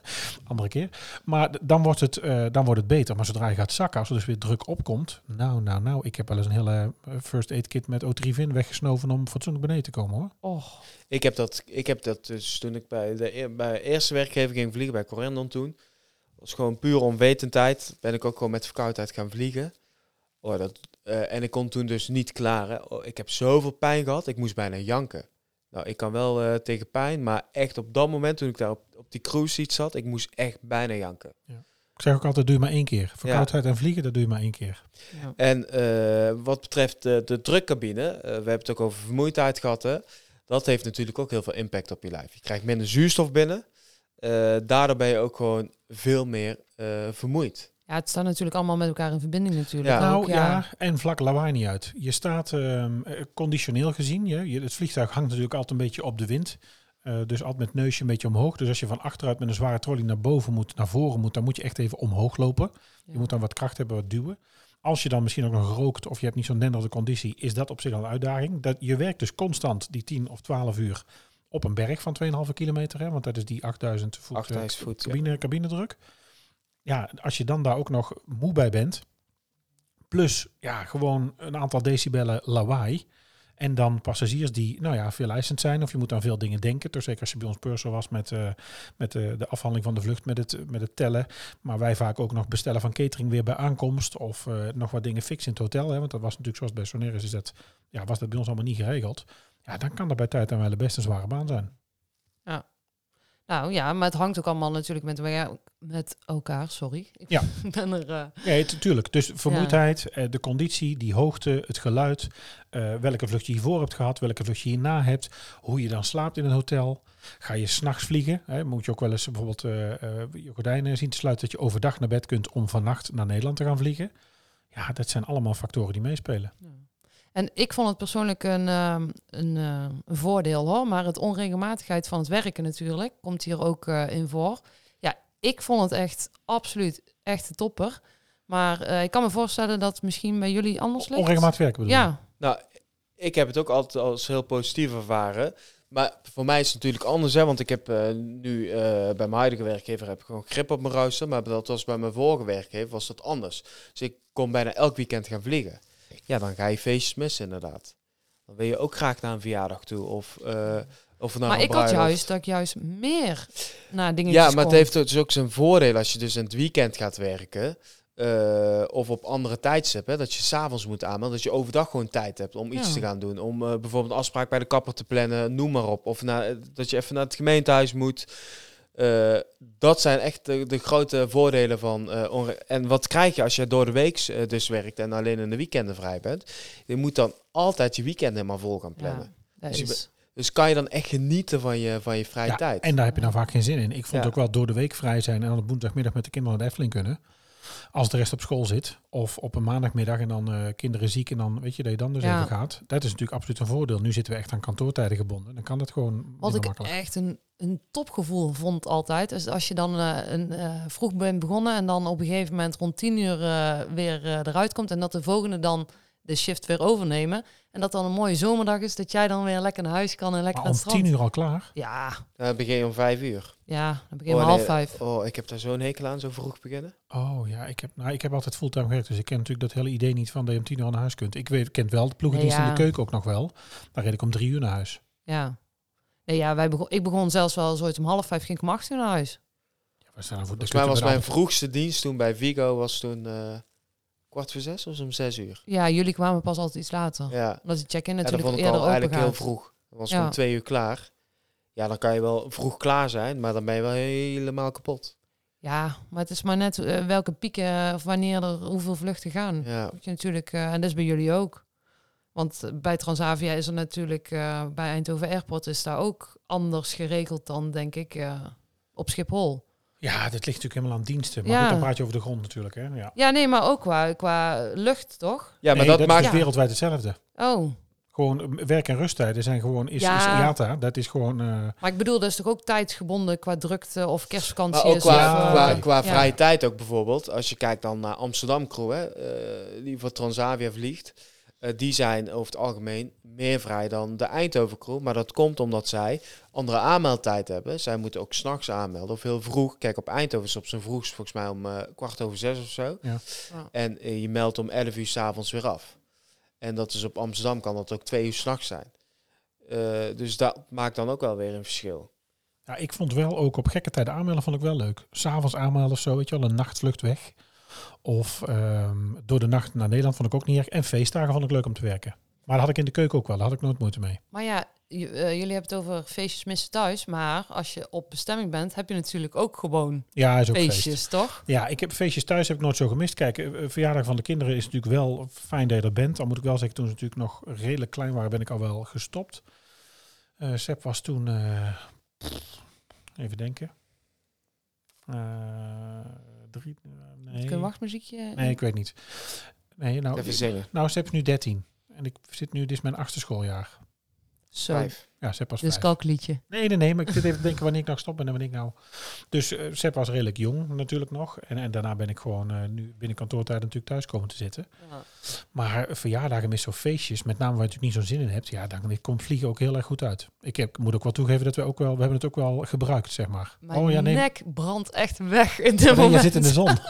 Speaker 2: Andere keer. Maar d- dan wordt, het, eh, dan wordt het beter. Maar zodra je gaat zakken, als er dus weer druk opkomt, nou, nou, nou. Ik heb wel eens een hele eh, first aid kit met O3-VIN weggesnoven om fatsoenlijk beneden te komen, hoor.
Speaker 3: Och.
Speaker 4: Ik heb dat, ik heb dat dus toen ik bij de eer- bij eerste werkgever ging vliegen, bij Corendon toen. was gewoon puur onwetendheid. Ben ik ook gewoon met verkoudheid gaan vliegen. Oh, dat, eh, en ik kon toen dus niet klaren. Oh, ik heb zoveel pijn gehad, ik moest bijna janken. Nou, ik kan wel eh, tegen pijn, maar echt op dat moment toen ik daar op, op die cruise seat zat, ik moest echt bijna janken.
Speaker 2: Ik zeg ook altijd, doe je maar één keer. Verkoudheid en vliegen, dat doe je maar één keer.
Speaker 3: Ja.
Speaker 4: En eh, wat betreft de, de drukcabine, eh, we hebben het ook over vermoeidheid gehad. Hè? Dat heeft natuurlijk ook heel veel impact op je lijf. Je krijgt minder zuurstof binnen. Eh, daardoor ben je ook gewoon veel meer eh, vermoeid.
Speaker 3: ja, het staat natuurlijk allemaal met elkaar in verbinding natuurlijk.
Speaker 4: Ja.
Speaker 2: nou
Speaker 3: ook,
Speaker 2: ja. en vlak lawaai niet uit. Je staat ehm, eh, conditioneel gezien, je, je- het vliegtuig hangt natuurlijk altijd een beetje op de wind. Eh, dus altijd met het neusje een beetje omhoog. Dus als je van achteruit met een zware trolley naar boven moet, naar voren moet, dan moet je echt even omhoog lopen. Je moet dan wat kracht hebben, wat duwen. Als je dan misschien ook nog rookt of je hebt niet zo'n denderende conditie, is dat op zich al een uitdaging. Dat, je werkt dus constant die 10 of 12 uur op een berg van 2,5 kilometer. Hè, want dat is die 8000 voet, eh,
Speaker 4: 8000 voet, ja.
Speaker 2: cabine, cabinedruk. Ja, als je dan daar ook nog moe bij bent, plus ja, gewoon een aantal decibellen lawaai. En dan passagiers die, nou ja, veel eisend zijn. Of je moet aan veel dingen denken. Dus zeker als je bij ons purser was met, eh, met eh, de afhandeling van de vlucht, met het, met het tellen. Maar wij vaak ook nog bestellen van catering weer bij aankomst. Of eh, nog wat dingen fixen in het hotel. Hè, want dat was natuurlijk zoals bij Soneris is dat, ja, was dat bij ons allemaal niet geregeld. Ja, dan kan dat bij tijd en wel best een zware baan zijn.
Speaker 3: Nou ja, maar het hangt ook allemaal natuurlijk met, elkaar- met elkaar, sorry. Ik
Speaker 2: Ja.
Speaker 3: ben er... eh,
Speaker 2: Nee, tu- tuurlijk. Dus vermoeidheid, eh, de conditie, die hoogte, het geluid, eh, welke vlucht je hiervoor hebt gehad, welke vlucht je hierna hebt, hoe je dan slaapt in een hotel. Ga je s'nachts vliegen? Hè? Moet je ook wel eens bijvoorbeeld eh, eh, je gordijnen zien te sluiten dat je overdag naar bed kunt om vannacht naar Nederland te gaan vliegen? Ja, dat zijn allemaal factoren die meespelen.
Speaker 3: Ja. En ik vond het persoonlijk een, ehm, een, eh, een voordeel hoor. Maar het onregelmatigheid van het werken natuurlijk komt hier ook eh, in voor. Ja, ik vond het echt absoluut echt een topper. Maar eh, ik kan me voorstellen dat het misschien bij jullie anders ligt.
Speaker 2: Onregelmatig werken bedoel je?
Speaker 3: Ja,
Speaker 4: Nou, ik heb het ook altijd als heel positief ervaren. Maar voor mij is het natuurlijk anders, hè, want ik heb eh, nu eh, bij mijn huidige werkgever heb ik gewoon grip op mijn ruister. Maar dat was bij mijn vorige werkgever was dat anders. Dus ik kon bijna elk weekend gaan vliegen. Ja, dan ga je feestjes missen inderdaad. Dan wil je ook graag naar een verjaardag toe of, eh, of naar
Speaker 3: maar
Speaker 4: een
Speaker 3: ik had
Speaker 4: bruiloft.
Speaker 3: juist dat ik juist meer naar dingetjes
Speaker 4: Ja, maar het
Speaker 3: kon.
Speaker 4: heeft dus ook zijn voordeel als je dus in het weekend gaat werken. eh, of op andere tijdstippen, hè, dat je s'avonds moet aanmelden. Dat je overdag gewoon tijd hebt om iets
Speaker 3: Ja.
Speaker 4: te gaan doen. Om eh, bijvoorbeeld een afspraak bij de kapper te plannen, noem maar op. Of naar, eh, dat je even naar het gemeentehuis moet. Eh, dat zijn echt de, de grote voordelen van. eh, onre- en wat krijg je als je door de week eh, dus werkt en alleen in de weekenden vrij bent? Je moet dan altijd je weekend helemaal vol gaan plannen.
Speaker 3: Ja, dat
Speaker 4: Dus je
Speaker 3: is.
Speaker 4: Dus kan je dan echt genieten van je, van je vrije
Speaker 2: Ja,
Speaker 4: tijd?
Speaker 2: En daar heb je dan vaak geen zin in. Ik vond
Speaker 4: Ja.
Speaker 2: ook wel door de week vrij zijn en dan op woensdagmiddag met de kinderen naar de Efteling kunnen. Als de rest op school zit. Of op een maandagmiddag en dan eh, kinderen ziek en dan weet je dat je dan dus
Speaker 3: Ja.
Speaker 2: even gaat. Dat is natuurlijk absoluut een voordeel. Nu zitten we echt aan kantoortijden gebonden. Dan kan dat gewoon minder
Speaker 3: Wat ik
Speaker 2: makkelijk.
Speaker 3: echt een, een topgevoel vond altijd. Dus als je dan eh, een, eh, vroeg bent begonnen en dan op een gegeven moment rond tien uur eh, weer eh, eruit komt. En dat de volgende dan de shift weer overnemen. En dat dan een mooie zomerdag is. Dat jij dan weer lekker naar huis kan en lekker
Speaker 2: Maar
Speaker 3: aan
Speaker 2: om
Speaker 3: het strand.
Speaker 2: tien uur al klaar.
Speaker 3: Ja,
Speaker 4: Dan begin je om vijf uur.
Speaker 3: ja, dan begin je
Speaker 4: Oh,
Speaker 3: om
Speaker 4: nee.
Speaker 3: half vijf.
Speaker 4: Oh, ik heb daar zo'n hekel aan, zo vroeg beginnen.
Speaker 2: Oh ja, ik heb, nou, ik heb altijd fulltime gewerkt. Dus ik ken natuurlijk dat hele idee niet van dat je om tien uur al naar huis kunt. Ik weet, ik ken wel de ploegendienst
Speaker 3: Nee,
Speaker 2: in de
Speaker 3: ja.
Speaker 2: keuken ook nog wel. Daar reed ik om drie uur naar huis.
Speaker 3: Ja. Nee, ja, wij begon, ik begon zelfs wel eens ooit om half vijf ging ik om acht uur naar huis.
Speaker 2: Ja, we staan voor,
Speaker 4: Volgens mij was mijn vroegste dienst toen bij Vigo was toen eh, kwart voor zes of zo om zes uur.
Speaker 3: Ja, jullie kwamen pas altijd iets
Speaker 2: Oh.
Speaker 3: later.
Speaker 4: Ja,
Speaker 3: Omdat de check-in
Speaker 4: ja dat
Speaker 3: natuurlijk
Speaker 4: vond ik
Speaker 3: eerder
Speaker 4: al
Speaker 3: open
Speaker 4: eigenlijk heel
Speaker 3: gaat.
Speaker 4: vroeg. Dan was
Speaker 3: Ja.
Speaker 4: ik om twee uur klaar. Ja, dan kan je wel vroeg klaar zijn, maar dan ben je wel helemaal kapot.
Speaker 3: Ja, maar het is maar net eh, welke pieken eh, of wanneer er hoeveel vluchten gaan.
Speaker 4: Ja,
Speaker 3: Moet je natuurlijk, eh, en dat is bij jullie ook. Want eh, bij Transavia is er natuurlijk, eh, bij Eindhoven Airport is daar ook anders geregeld dan, denk ik, eh, op Schiphol.
Speaker 2: Ja, dat ligt natuurlijk helemaal aan diensten. Maar
Speaker 3: Ja.
Speaker 2: goed, dan praat je over de grond natuurlijk. Hè? Ja.
Speaker 3: Ja, nee, maar ook qua, qua lucht, toch?
Speaker 4: ja maar
Speaker 2: Nee,
Speaker 4: dat
Speaker 2: is
Speaker 4: maakt...
Speaker 2: dus wereldwijd hetzelfde.
Speaker 3: Oh,
Speaker 2: Gewoon eh, werk- en rusttijden zijn gewoon, is,
Speaker 3: Ja.
Speaker 2: is IATA, dat is gewoon... eh,
Speaker 3: maar ik bedoel, dat is toch ook tijdsgebonden qua drukte of kerstvakantie
Speaker 4: Maar ook
Speaker 3: is
Speaker 4: qua,
Speaker 3: of, eh,
Speaker 4: qua, qua
Speaker 3: ja.
Speaker 4: vrije tijd ook bijvoorbeeld. Als je kijkt dan naar Amsterdam Crew, hè, eh, die voor Transavia vliegt. eh, die zijn over het algemeen meer vrij dan de Eindhoven Crew. Maar dat komt omdat zij andere aanmeldtijd hebben. Zij moeten ook s'nachts aanmelden of heel vroeg. Kijk, op Eindhoven is op zijn vroegst volgens mij om eh, kwart over zes of zo.
Speaker 2: Ja.
Speaker 3: Ja.
Speaker 4: En eh, je meldt om 11 uur s'avonds weer af. En dat is op Amsterdam kan dat ook twee uur s'nachts zijn. Eh, dus dat maakt dan ook wel weer een verschil.
Speaker 2: ja, ik vond wel ook op gekke tijden aanmelden, vond ik wel leuk. S'avonds aanmelden of zo, weet je wel, een nachtvlucht weg. Of ehm, door de nacht naar Nederland vond ik ook niet erg. En feestdagen vond ik leuk om te werken. Maar dat had ik in de keuken ook wel, daar had ik nooit moeite mee.
Speaker 3: Maar ja, j- eh, jullie hebben het over feestjes missen thuis. Maar als je op bestemming bent, heb je natuurlijk ook gewoon
Speaker 2: Ja, is ook feest.
Speaker 3: feestjes, toch?
Speaker 2: Ja, ik heb feestjes thuis heb ik nooit zo gemist. Kijk, eh, verjaardag van de kinderen is natuurlijk wel fijn dat je er bent. Al moet ik wel zeggen, toen ze natuurlijk nog redelijk klein waren, ben ik al wel gestopt. Eh Sepp was toen, eh, even denken, Eh, drie, nee.
Speaker 3: Kun je wachtmuziekje?
Speaker 2: nee, ik weet niet. Nee, nou,
Speaker 4: Even zingen.
Speaker 2: nou Sepp is nu 13 en ik zit nu, dit is mijn achtste schooljaar.
Speaker 3: Zo,
Speaker 4: Vijf.
Speaker 2: Ja, Sepp was
Speaker 3: dit is
Speaker 2: vijf.
Speaker 3: kalkliedje.
Speaker 2: Nee, nee, nee, maar ik zit even te denken wanneer ik nou stop ben en wanneer ik nou... Dus eh Sepp was redelijk jong natuurlijk nog. En, en daarna ben ik gewoon eh, nu binnen kantoortijd natuurlijk thuis komen te zitten.
Speaker 4: Ah.
Speaker 2: Maar verjaardagen met zo'n feestjes, met name waar je natuurlijk niet zo'n zin in hebt, ja, dan komt vliegen ook heel erg goed uit. Ik heb, moet ook wel toegeven dat we ook wel, we hebben het ook wel gebruikt, zeg maar.
Speaker 3: Mijn
Speaker 2: oh ja, nee,
Speaker 3: nek brandt echt weg in dit
Speaker 2: nee,
Speaker 3: moment.
Speaker 2: je zit in de zon.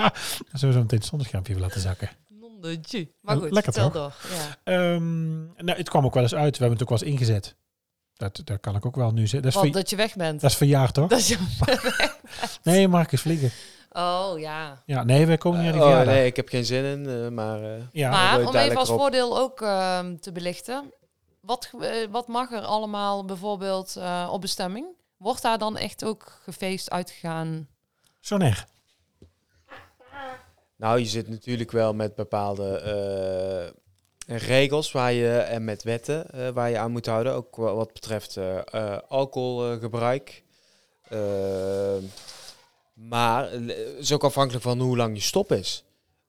Speaker 2: dan zullen we zo meteen het zonneschaampje even laten zakken.
Speaker 3: Nondertje. Maar goed,
Speaker 2: Oh, Lekker
Speaker 3: vertel door. Ja.
Speaker 2: Ehm, nou, het kwam ook wel eens uit. We hebben het ook wel eens ingezet. Dat, daar kan ik ook wel nu zeggen. Dat is,
Speaker 3: Want
Speaker 2: ver-
Speaker 3: dat je weg bent.
Speaker 2: dat is verjaard, toch?
Speaker 3: Dat je...
Speaker 2: Nee, Marcus vliegen.
Speaker 3: Oh ja.
Speaker 2: Ja, nee, wij komen niet aan die
Speaker 4: oh,
Speaker 2: verjaardag.
Speaker 4: nee, ik heb geen zin in, eh, maar... eh,
Speaker 2: Ja,
Speaker 4: dan
Speaker 3: maar
Speaker 4: wil je
Speaker 3: om
Speaker 4: daar
Speaker 3: even als
Speaker 4: lekker op.
Speaker 3: voordeel ook ehm, te belichten. Wat, ge- eh, wat mag er allemaal bijvoorbeeld eh, op bestemming? Wordt daar dan echt ook gefeest uitgegaan?
Speaker 2: zo'n echt.
Speaker 4: Nou, je zit natuurlijk wel met bepaalde eh, regels waar je, en met wetten eh, waar je aan moet houden. Ook wa- wat betreft eh, eh, alcoholgebruik. Eh, maar eh, het is ook afhankelijk van hoe lang je stop is.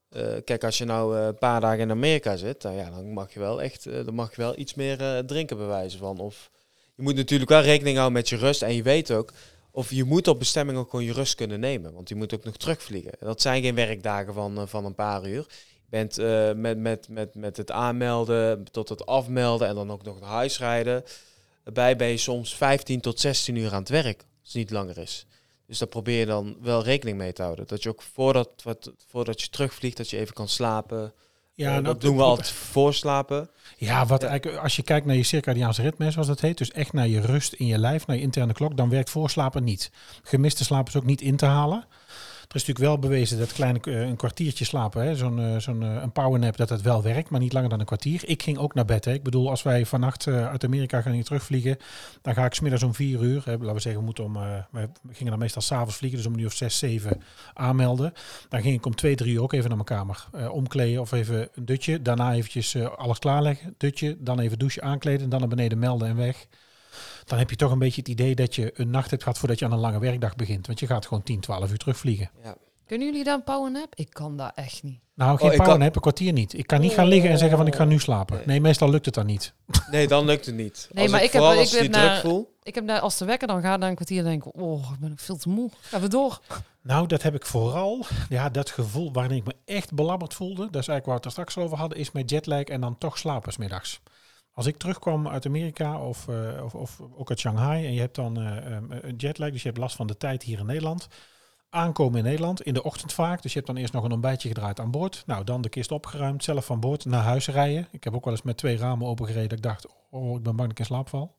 Speaker 4: Eh, kijk, als je nou eh, een paar dagen in Amerika zit, dan, ja, dan mag je wel echt eh, dan mag je wel iets meer eh, drinken bewijzen van. Of je moet natuurlijk wel rekening houden met je rust. En je weet ook, of je moet op bestemming ook gewoon je rust kunnen nemen. Want je moet ook nog terugvliegen. Dat zijn geen werkdagen van, eh, van een paar uur. Je bent eh, met, met, met, met het aanmelden tot het afmelden en dan ook nog naar huis rijden. Daarbij ben je soms 15 tot 16 uur aan het werk, als het niet langer is. Dus daar probeer je dan wel rekening mee te houden. Dat je ook voordat, wat, voordat je terugvliegt, dat je even kan slapen.
Speaker 2: Ja, nou,
Speaker 4: Eh,
Speaker 2: en
Speaker 4: dat
Speaker 2: ook-
Speaker 4: doen we altijd voorslapen.
Speaker 2: Ja, wat
Speaker 4: Ja.
Speaker 2: Eigenlijk, als je kijkt naar je circadiaanse ritme, zoals dat heet, dus echt naar je rust in je lijf, naar je interne klok, dan werkt voorslapen niet. Gemiste slaap is ook niet in te halen. Er is natuurlijk wel bewezen dat kleine, eh, een kwartiertje slapen, hè, zo'n, eh, zo'n eh, een powernap, dat dat wel werkt, maar niet langer dan een kwartier. Ik ging ook naar bed. Hè. Ik bedoel, als wij vannacht eh, uit Amerika gaan hier terugvliegen, dan ga ik smiddags om vier uur, hè, laten we zeggen, we, moeten om, eh, we gingen dan meestal s'avonds vliegen, dus om een uur of zes, zeven aanmelden. Dan ging ik om twee, drie uur ook even naar mijn kamer. Eh, omkleden of even een dutje. Daarna eventjes eh, alles klaarleggen. Dutje, dan even douchen, aankleden. en Dan naar beneden melden en weg. Dan heb je toch een beetje het idee dat je een nacht hebt gehad voordat je aan een lange werkdag begint. Want je gaat gewoon 10, 12 uur terugvliegen.
Speaker 4: Ja.
Speaker 3: Kunnen jullie daar een powernap? Ik kan daar echt niet.
Speaker 2: Nou, geen
Speaker 4: Oh, ik kan-
Speaker 2: pauwen heb een kwartier niet. Ik kan niet gaan liggen en zeggen van ik ga nu slapen.
Speaker 4: Nee.
Speaker 2: Nee, meestal lukt het dan niet.
Speaker 4: Nee, dan lukt het niet.
Speaker 3: Nee,
Speaker 4: Als
Speaker 3: maar
Speaker 4: ik,
Speaker 3: ik heb-
Speaker 4: vooral
Speaker 3: ik
Speaker 4: als je
Speaker 3: ben
Speaker 4: die
Speaker 3: naar-
Speaker 4: druk voel.
Speaker 3: Ik heb daar, als de wekker dan gaat na een kwartier, dan denk ik, oh, ik ben ook veel te moe. Gaan we door. Dus
Speaker 2: Nou, dat heb ik vooral. Ja, dat gevoel waarin ik me echt belabberd voelde. Dat is eigenlijk waar we het er straks over hadden. Is met jetlag en dan toch slapen 's middags. Als ik terugkwam uit Amerika of, eh, of, of ook uit Shanghai. En je hebt dan eh, ehm, een jetlag. Dus je hebt last van de tijd hier in Nederland. Aankomen in Nederland. In de ochtend vaak. Dus je hebt dan eerst nog een ontbijtje gedraaid aan boord. Nou, dan de kist opgeruimd. Zelf van boord naar huis rijden. Ik heb ook wel eens met twee ramen opengereden. dat Ik dacht, oh, ik ben bang dat ik in slaap val.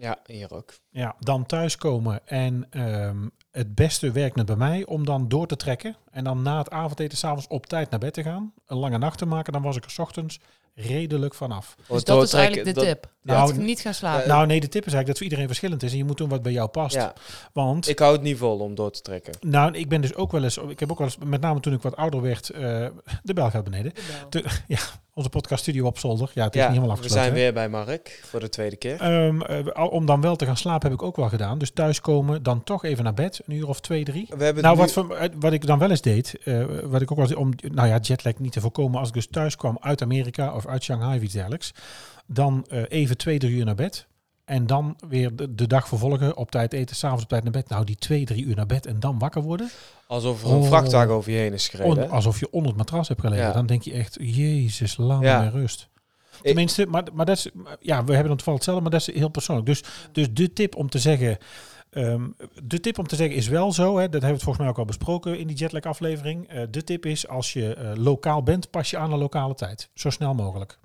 Speaker 4: Ja, hier ook.
Speaker 3: Dus
Speaker 2: Ja, dan thuiskomen en ehm, het beste werkt het bij mij om dan door te trekken. En dan na het avondeten s'avonds op tijd naar bed te gaan. Een lange nacht te maken, dan was ik er 's ochtends redelijk vanaf.
Speaker 3: Dus dat is eigenlijk de tip.
Speaker 2: Nou,
Speaker 3: dat ik niet gaan slapen.
Speaker 4: Eh,
Speaker 2: nou nee, de tip is eigenlijk dat voor iedereen verschillend is. En je moet doen wat bij jou past.
Speaker 4: Ja,
Speaker 2: Want...
Speaker 4: ik hou het niet vol om door te trekken.
Speaker 2: nou, ik ben dus ook wel eens, ik heb ook wel eens, met name toen ik wat ouder werd, eh, de bel gaat beneden. Onze podcaststudio op zolder, ja, het is
Speaker 4: ja,
Speaker 2: niet helemaal
Speaker 4: we
Speaker 2: afgesloten.
Speaker 4: zijn
Speaker 2: hè?
Speaker 4: weer bij Mark voor de tweede keer.
Speaker 2: Ehm, eh, om dan wel te gaan slapen heb ik ook wel gedaan. Dus thuiskomen, dan toch even naar bed, een uur of twee, drie.
Speaker 4: We hebben
Speaker 2: Nou,
Speaker 4: nu-
Speaker 2: wat, voor, eh, wat ik dan wel eens deed, eh, wat ik ook wel eens, om, nou ja, jetlag niet te voorkomen, als ik dus thuis kwam uit Amerika of uit Shanghai of iets dergelijks, dan eh, even twee, drie uur naar bed. En dan weer de, de dag vervolgen, op tijd eten, s'avonds op tijd naar bed. Nou, die twee, drie uur naar bed en dan wakker worden.
Speaker 4: alsof er een
Speaker 2: Oh.
Speaker 4: vrachtwagen over je heen is gereden.
Speaker 2: On- alsof je onder het matras hebt gelegen.
Speaker 4: Ja.
Speaker 2: Dan denk je echt, jezus, laat
Speaker 4: Ja.
Speaker 2: me in rust. Tenminste, maar, maar dat is, ja, we hebben dan toevallig hetzelfde, maar dat is heel persoonlijk. Dus, dus de tip om te zeggen, ehm, de tip om te zeggen is wel zo, hè, dat hebben we het volgens mij ook al besproken in die jetlag aflevering. Eh, de tip is, als je eh, lokaal bent, pas je aan de lokale tijd. Zo snel mogelijk.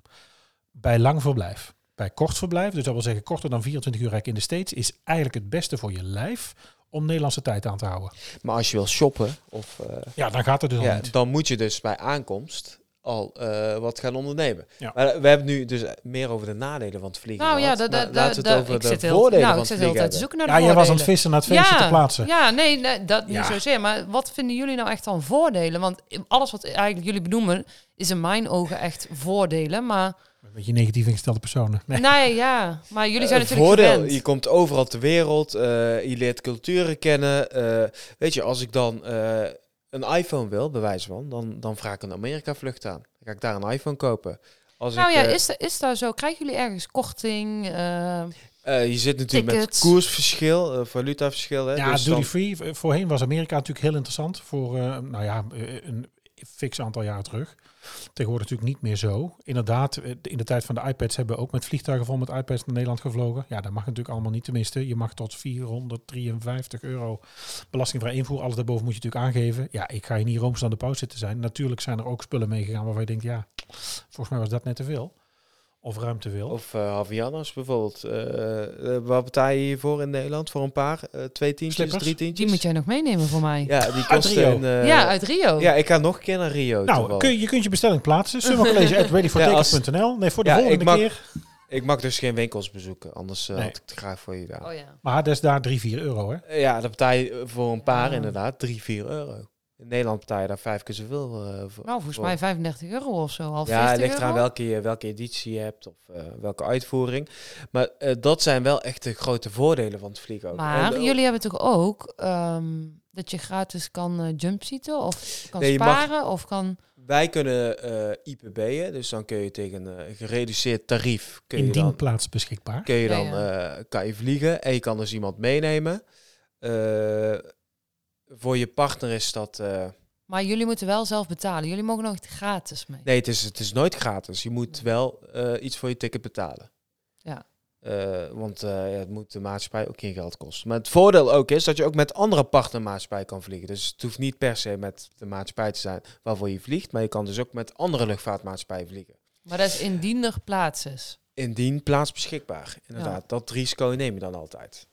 Speaker 2: Bij lang verblijf. Bij kort verblijf, dus dat wil zeggen korter dan 24 uur rijk in de States, is eigenlijk het beste voor je lijf om Nederlandse tijd aan te houden.
Speaker 4: Maar als je wil shoppen, of, eh,
Speaker 2: Ja, dan gaat het dus al
Speaker 4: ja,
Speaker 2: niet.
Speaker 4: dan moet je dus bij aankomst al eh, wat gaan ondernemen.
Speaker 2: Ja.
Speaker 4: Maar we hebben nu dus meer over de nadelen van het vliegen.
Speaker 3: nou ja,
Speaker 4: gehad.
Speaker 3: dat,
Speaker 4: Maar
Speaker 3: dat, dat,
Speaker 4: laten we het
Speaker 3: dat-
Speaker 4: over
Speaker 3: ik
Speaker 4: de
Speaker 3: zit heel,
Speaker 4: voordelen
Speaker 3: nou,
Speaker 4: van
Speaker 3: ik zit
Speaker 4: het
Speaker 3: heel
Speaker 4: vliegen
Speaker 3: tijd te
Speaker 4: hebben.
Speaker 3: zoeken naar de
Speaker 2: Ja, jij was aan
Speaker 3: voordelen.
Speaker 2: het vissen naar het feestje te plaatsen.
Speaker 3: Ja, nee, nee, dat niet
Speaker 2: Ja.
Speaker 3: zozeer. Maar wat vinden jullie nou echt dan voordelen? Want alles wat eigenlijk jullie benoemen is in mijn ogen echt voordelen. Maar
Speaker 2: Een beetje negatief ingestelde personen. Nee.
Speaker 3: nee, ja. Maar jullie zijn
Speaker 4: Eh,
Speaker 3: natuurlijk
Speaker 4: voordeel,
Speaker 3: gewend.
Speaker 4: Je komt overal ter wereld, eh, je leert culturen kennen. eh, weet je, als ik dan eh, een iPhone wil, bij wijze van, dan, dan vraag ik een Amerika-vlucht aan. Dan ga ik daar een iPhone kopen. Als
Speaker 3: Nou
Speaker 4: ik,
Speaker 3: ja,
Speaker 4: eh,
Speaker 3: is, da- is daar zo? Krijgen jullie ergens korting? eh,
Speaker 4: eh, je zit natuurlijk
Speaker 3: tickets.
Speaker 4: met koersverschil, eh, valutaverschil. Hè,
Speaker 2: Ja,
Speaker 4: dus
Speaker 2: duty
Speaker 4: dan-
Speaker 2: free. V- Voorheen was Amerika natuurlijk heel interessant voor, eh, nou ja, eh, een fix aantal jaar terug. Tegenwoordig natuurlijk niet meer zo. Inderdaad, eh, in de tijd van de iPads hebben we ook met vliegtuigen vol met iPads naar Nederland gevlogen. Ja, dat mag natuurlijk allemaal niet tenminste. Je mag tot 453 euro belastingvrij invoer. Alles daarboven moet je natuurlijk aangeven. Ja, ik ga hier niet rooms aan de pauze zitten zijn. Natuurlijk zijn er ook spullen meegegaan waarvan je denkt, ja, volgens mij was dat net te veel. Of ruim te veel.
Speaker 4: Of eh Havaianas bijvoorbeeld. Eh, eh, wat betaal je hiervoor in Nederland voor een paar? Eh, twee tientjes,
Speaker 2: Slippers?
Speaker 4: drie
Speaker 3: die
Speaker 4: tientjes?
Speaker 3: moet jij nog meenemen voor mij. Ja,
Speaker 4: Ja, die kosten
Speaker 2: Ah, Rio.
Speaker 4: een... eh,
Speaker 3: uit Rio.
Speaker 4: ja, ik ga nog een keer naar Rio.
Speaker 2: nou,
Speaker 4: toevallig.
Speaker 2: kun, je kunt je bestelling plaatsen. Summercollege.readyfortakers.nl Nee, voor de
Speaker 4: Ja,
Speaker 2: volgende
Speaker 4: ik mag-
Speaker 2: keer.
Speaker 4: Ik mag dus geen winkels bezoeken, anders eh,
Speaker 2: Nee.
Speaker 4: had ik het graag voor je gedaan.
Speaker 3: Oh ja.
Speaker 2: Maar dat is daar 3, 4 euro, hè?
Speaker 4: Eh, Ja, dan betaal je eh, voor een paar
Speaker 3: Ah.
Speaker 4: inderdaad 3, 4 euro. In Nederland betaal je daar vijf keer zoveel eh voor.
Speaker 3: Nou, volgens
Speaker 4: Wow.
Speaker 3: mij 35 euro of zo. Half
Speaker 4: Ja,
Speaker 3: 40
Speaker 4: het ligt eraan
Speaker 3: euro.
Speaker 4: welke, welke editie je hebt of eh, welke uitvoering. Maar eh, dat zijn wel echt de grote voordelen van het vliegen. ook.
Speaker 3: Maar
Speaker 4: En, eh,
Speaker 3: jullie hebben toch ook ehm, dat je gratis kan eh jumpseaten of kan
Speaker 4: Nee, je mag-
Speaker 3: sparen of kan...
Speaker 4: Wij kunnen eh IPB'en, dus dan kun je tegen een eh, gereduceerd tarief... Kun je
Speaker 2: Indien
Speaker 4: dan,
Speaker 2: plaats beschikbaar.
Speaker 4: kun je
Speaker 3: Ja,
Speaker 4: dan eh, kan je vliegen en je kan dus iemand meenemen. Eh, voor je partner is dat... eh,
Speaker 3: Maar jullie moeten wel zelf betalen. Jullie mogen nog gratis mee.
Speaker 4: Nee, het is, het is nooit gratis. Je moet wel eh, iets voor je ticket betalen.
Speaker 3: Ja.
Speaker 4: Eh, want eh, ja, het moet de maatschappij ook geen geld kosten. Maar het voordeel ook is dat je ook met andere partnermaatschappij kan vliegen. Dus het hoeft niet per se met de maatschappij te zijn waarvoor je vliegt. Maar je kan dus ook met andere luchtvaartmaatschappijen vliegen.
Speaker 3: Maar dat is indien er plaats is.
Speaker 4: Indien plaats beschikbaar. Inderdaad, dat risico neem je dan altijd.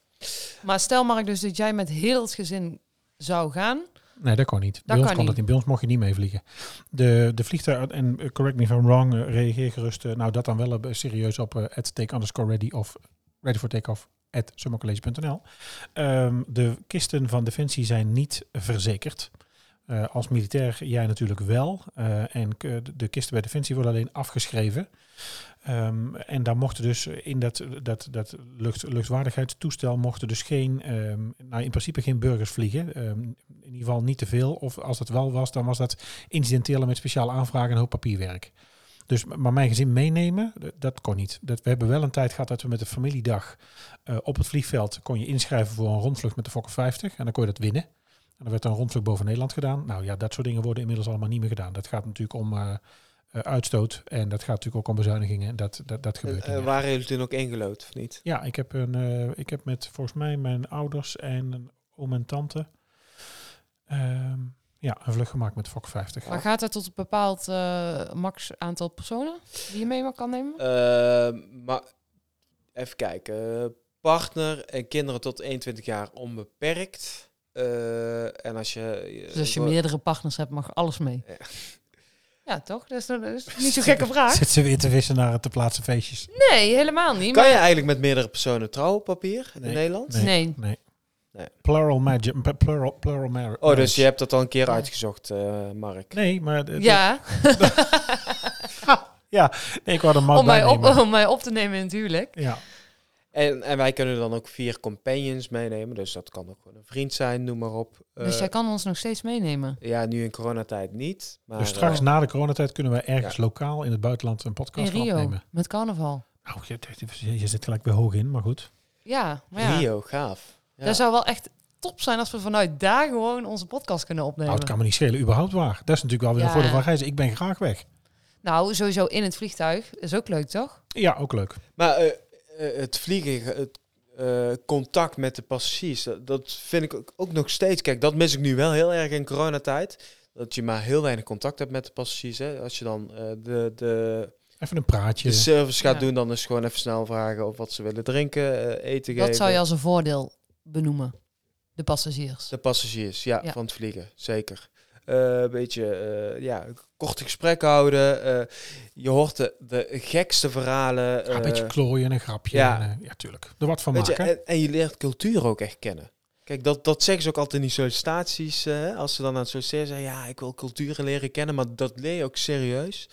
Speaker 3: Maar stel, Mark, dus dat jij met heel het gezin zou gaan.
Speaker 2: Nee, dat kon niet. Bij
Speaker 3: Dat
Speaker 2: ons
Speaker 3: kan
Speaker 2: kon dat
Speaker 3: niet.
Speaker 2: niet. Bij ons mocht je niet meevliegen. De, de vliegtuig, en eh, correct me if I'm wrong, eh, reageer gerust. eh, nou, dat dan wel eh, serieus op eh, at take underscore ready of ready for takeoff at summercollege.nl. Ehm, de kisten van Defensie zijn niet verzekerd. Eh, als militair jij natuurlijk wel. Eh, en k- de kisten bij Defensie worden alleen afgeschreven. Ehm, en daar mochten dus in dat, dat, dat lucht, luchtwaardigheidstoestel mochten dus geen, ehm, nou in principe geen burgers vliegen. Ehm, in ieder geval niet te veel. Of als dat wel was, dan was dat incidenteel en met speciale aanvragen en een hoop papierwerk. Dus, maar mijn gezin meenemen, d- dat kon niet. Dat, we hebben wel een tijd gehad dat we met de familiedag eh, op het vliegveld kon je inschrijven voor een rondvlucht met de Fokker 50. En dan kon je dat winnen. En er werd dan een rondvlucht boven Nederland gedaan. Nou ja, dat soort dingen worden inmiddels allemaal niet meer gedaan. Dat gaat natuurlijk om eh, eh, uitstoot en dat gaat natuurlijk ook om bezuinigingen. En dat, dat, dat
Speaker 4: En,
Speaker 2: gebeurt niet
Speaker 4: eh,
Speaker 2: meer.
Speaker 4: waren jullie toen ook ingelood of niet?
Speaker 2: Ja, ik heb, een, eh, ik heb met volgens mij mijn ouders en een oom en tante ehm, ja, een vlucht gemaakt met Fok 50.
Speaker 3: Maar gaat dat tot een bepaald eh, max aantal personen die je mee kan nemen?
Speaker 4: Eh, maar even kijken. Eh, partner en kinderen tot 21 jaar onbeperkt. Eh, en als je.
Speaker 3: Dus als je
Speaker 4: eh,
Speaker 3: meerdere partners hebt, mag alles mee.
Speaker 4: Ja.
Speaker 3: Ja, toch? Dat is, dat is niet zo'n gekke vraag.
Speaker 2: Zit ze weer te wissen naar te plaatsen feestjes?
Speaker 3: Nee, helemaal niet.
Speaker 4: Kan
Speaker 3: maar-
Speaker 4: je eigenlijk met meerdere personen trouwen op papier in
Speaker 2: Nee.
Speaker 4: Nederland?
Speaker 2: Nee.
Speaker 3: Nee.
Speaker 2: Nee.
Speaker 4: Nee.
Speaker 2: Plural magic, plural, plural marriage.
Speaker 4: Oh, dus je hebt dat al een keer
Speaker 3: Nee.
Speaker 4: uitgezocht, eh, Mark.
Speaker 2: Nee, maar... de- de-
Speaker 3: Ja,
Speaker 2: nee, ik wou er maar
Speaker 3: om mij,
Speaker 2: bij
Speaker 3: op,
Speaker 2: nemen.
Speaker 3: om mij op te nemen in het huwelijk.
Speaker 2: Ja.
Speaker 4: Ah, En, en wij kunnen dan ook vier companions meenemen. Dus dat kan ook gewoon een vriend zijn, noem maar op.
Speaker 3: Dus
Speaker 4: Eh,
Speaker 3: jij kan ons nog steeds meenemen.
Speaker 4: Ja, nu in coronatijd niet. Maar
Speaker 2: Dus straks
Speaker 4: eh,
Speaker 2: na de coronatijd kunnen we ergens lokaal in het buitenland een
Speaker 3: In
Speaker 2: podcast gaan
Speaker 3: Rio,
Speaker 2: opnemen.
Speaker 3: met carnaval.
Speaker 2: Nou, je, je- je zit gelijk weer hoog in, maar goed.
Speaker 3: Ja, maar ja.
Speaker 4: Rio, gaaf. Ja.
Speaker 3: Dat zou wel echt top zijn als we vanuit daar gewoon onze podcast kunnen
Speaker 2: Nou, het
Speaker 3: opnemen.
Speaker 2: kan me niet schelen, überhaupt waar. Dat is natuurlijk wel weer een
Speaker 3: Ja.
Speaker 2: voordeel van reizen. Ik ben graag weg.
Speaker 3: Nou, sowieso in het vliegtuig is ook leuk, toch?
Speaker 2: Ja, ook leuk.
Speaker 4: Maar eh, eh, het vliegen, het eh, contact met de passagiers, dat, dat vind ik ook, ook nog steeds. Kijk, dat mis ik nu wel heel erg in coronatijd. Dat je maar heel weinig contact hebt met de passagiers. Hè. Als je dan eh, de, de,
Speaker 2: Even een praatje.
Speaker 4: de service gaat
Speaker 3: Ja.
Speaker 4: doen, dan is gewoon even snel vragen of wat ze willen drinken, eh, eten geven.
Speaker 3: Dat zou je als een voordeel benoemen. De passagiers.
Speaker 4: De passagiers, ja,
Speaker 3: Ja.
Speaker 4: van het vliegen, zeker. Eh, een beetje, eh, ja, korte gesprekken houden. eh, je hoort de, de gekste verhalen.
Speaker 2: Ja, een
Speaker 4: eh,
Speaker 2: beetje klooien en een grapje.
Speaker 4: ja.
Speaker 2: en, eh, ja tuurlijk. Er wat van
Speaker 4: Weet je, eh,
Speaker 2: maken.
Speaker 4: en, en je leert cultuur ook echt kennen. Kijk, dat, dat zeggen ze ook altijd in die sollicitaties. eh, als ze dan aan het solliciteren zijn, ja, ik wil culturen leren kennen, maar dat leer je ook serieus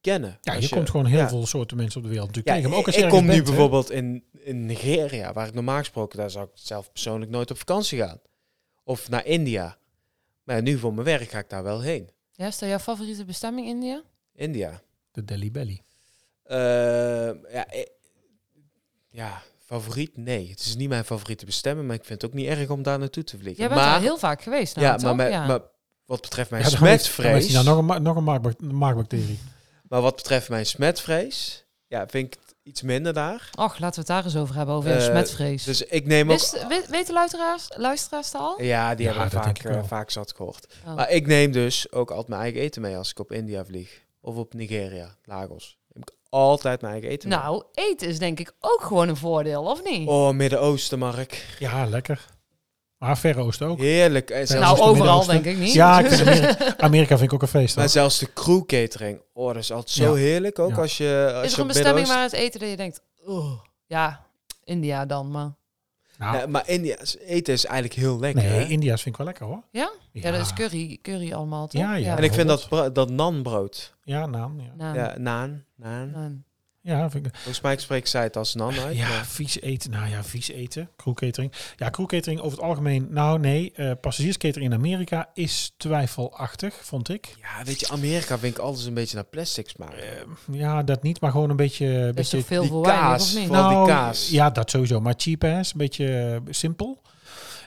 Speaker 4: kennen.
Speaker 2: ja, je,
Speaker 4: Als
Speaker 2: komt gewoon heel
Speaker 4: ja.
Speaker 2: veel soorten mensen op de wereld natuurlijk
Speaker 4: Ja,
Speaker 2: tegen. Maar ook als je
Speaker 4: ik
Speaker 2: ergens
Speaker 4: kom nu
Speaker 2: bent, hè.
Speaker 4: bijvoorbeeld in, in Nigeria, waar ik normaal gesproken, daar zou ik zelf persoonlijk nooit op vakantie gaan. Of naar India. Maar ja, nu voor mijn werk ga ik daar wel heen.
Speaker 3: Ja, is dat jouw favoriete bestemming, India?
Speaker 4: India.
Speaker 2: De Delhi Belly.
Speaker 4: Ehm, ja, eh, ja, favoriet? Nee, het is niet mijn favoriete bestemming, maar ik vind het ook niet erg om daar naartoe te vliegen.
Speaker 3: Jij bent
Speaker 4: maar,
Speaker 3: daar heel vaak geweest.
Speaker 4: ja,
Speaker 3: Nou,
Speaker 4: maar,
Speaker 3: toch?
Speaker 4: met-
Speaker 3: ja.
Speaker 4: maar wat betreft mijn
Speaker 2: Ja, dan is- dan is
Speaker 4: smetvrees,
Speaker 2: die nou nog een, ma- nog een maakbac- maakbacterie.
Speaker 4: maar wat betreft mijn smetvrees, ja, vind ik het iets minder daar.
Speaker 3: Och, laten we het daar eens over hebben, over
Speaker 4: Eh,
Speaker 3: smetvrees.
Speaker 4: Dus ik neem ook...
Speaker 3: Wist- we- weten luisteraars, luisteraars het al?
Speaker 4: Ja, die
Speaker 2: Ja,
Speaker 4: hebben
Speaker 2: dat
Speaker 4: we
Speaker 2: denk
Speaker 4: vaak,
Speaker 2: ik wel.
Speaker 4: eh, vaak zat gehoord.
Speaker 3: Oh.
Speaker 4: Maar ik neem dus ook altijd mijn eigen eten mee als ik op India vlieg. Of op Nigeria, Lagos. Neem ik altijd mijn eigen eten mee.
Speaker 3: Nou, eten is denk ik ook gewoon een voordeel, of niet?
Speaker 4: Oh, Midden-Oosten, Mark.
Speaker 2: ja, lekker. Maar Verre Oosten ook.
Speaker 4: Heerlijk. En zelfs,
Speaker 3: nou,
Speaker 2: Oosten,
Speaker 3: overal
Speaker 2: Midden-Oosten.
Speaker 3: denk ik niet.
Speaker 2: Ja, ik vind Amerika, Amerika vind ik ook een feest. hoor.
Speaker 4: maar zelfs de crew catering. Oh, dat is altijd zo
Speaker 2: Ja.
Speaker 4: heerlijk. Ook
Speaker 2: Ja.
Speaker 4: als je als
Speaker 3: is er
Speaker 4: je
Speaker 3: een
Speaker 4: op
Speaker 3: bestemming
Speaker 4: Midden-Oosten-
Speaker 3: waar het eten dat je denkt, oh, ja, India dan, maar...
Speaker 2: Nou,
Speaker 4: Ja, maar India's eten is eigenlijk heel lekker.
Speaker 2: nee,
Speaker 4: hè?
Speaker 2: India's vind ik wel lekker hoor.
Speaker 3: Ja? Ja, dat is curry, curry allemaal, toch?
Speaker 2: Ja, ja.
Speaker 4: en ik vind dat, bra- dat nanbrood.
Speaker 2: Ja, naam. Ja,
Speaker 3: Naan.
Speaker 4: Ja, naan. naan.
Speaker 3: Naan.
Speaker 2: ja vind ik.
Speaker 4: Volgens mij spreekt zij het als nan uit.
Speaker 2: Ja,
Speaker 4: maar-
Speaker 2: vies eten. Nou ja, vies eten. Crew catering. Ja, crew catering over het algemeen. Nou nee, eh passagierscatering in Amerika is twijfelachtig, vond ik.
Speaker 4: ja, weet je, Amerika vind ik altijd een beetje naar plastic smaken.
Speaker 2: Eh, ja, dat niet, maar gewoon een beetje...
Speaker 3: Dat is
Speaker 2: beetje Nou-
Speaker 3: toch veel
Speaker 4: die
Speaker 3: voor weinig,
Speaker 4: kaas
Speaker 3: of niet?
Speaker 4: van- Vooral die kaas.
Speaker 2: Ja, dat sowieso. Maar cheap ass, een beetje eh, simpel.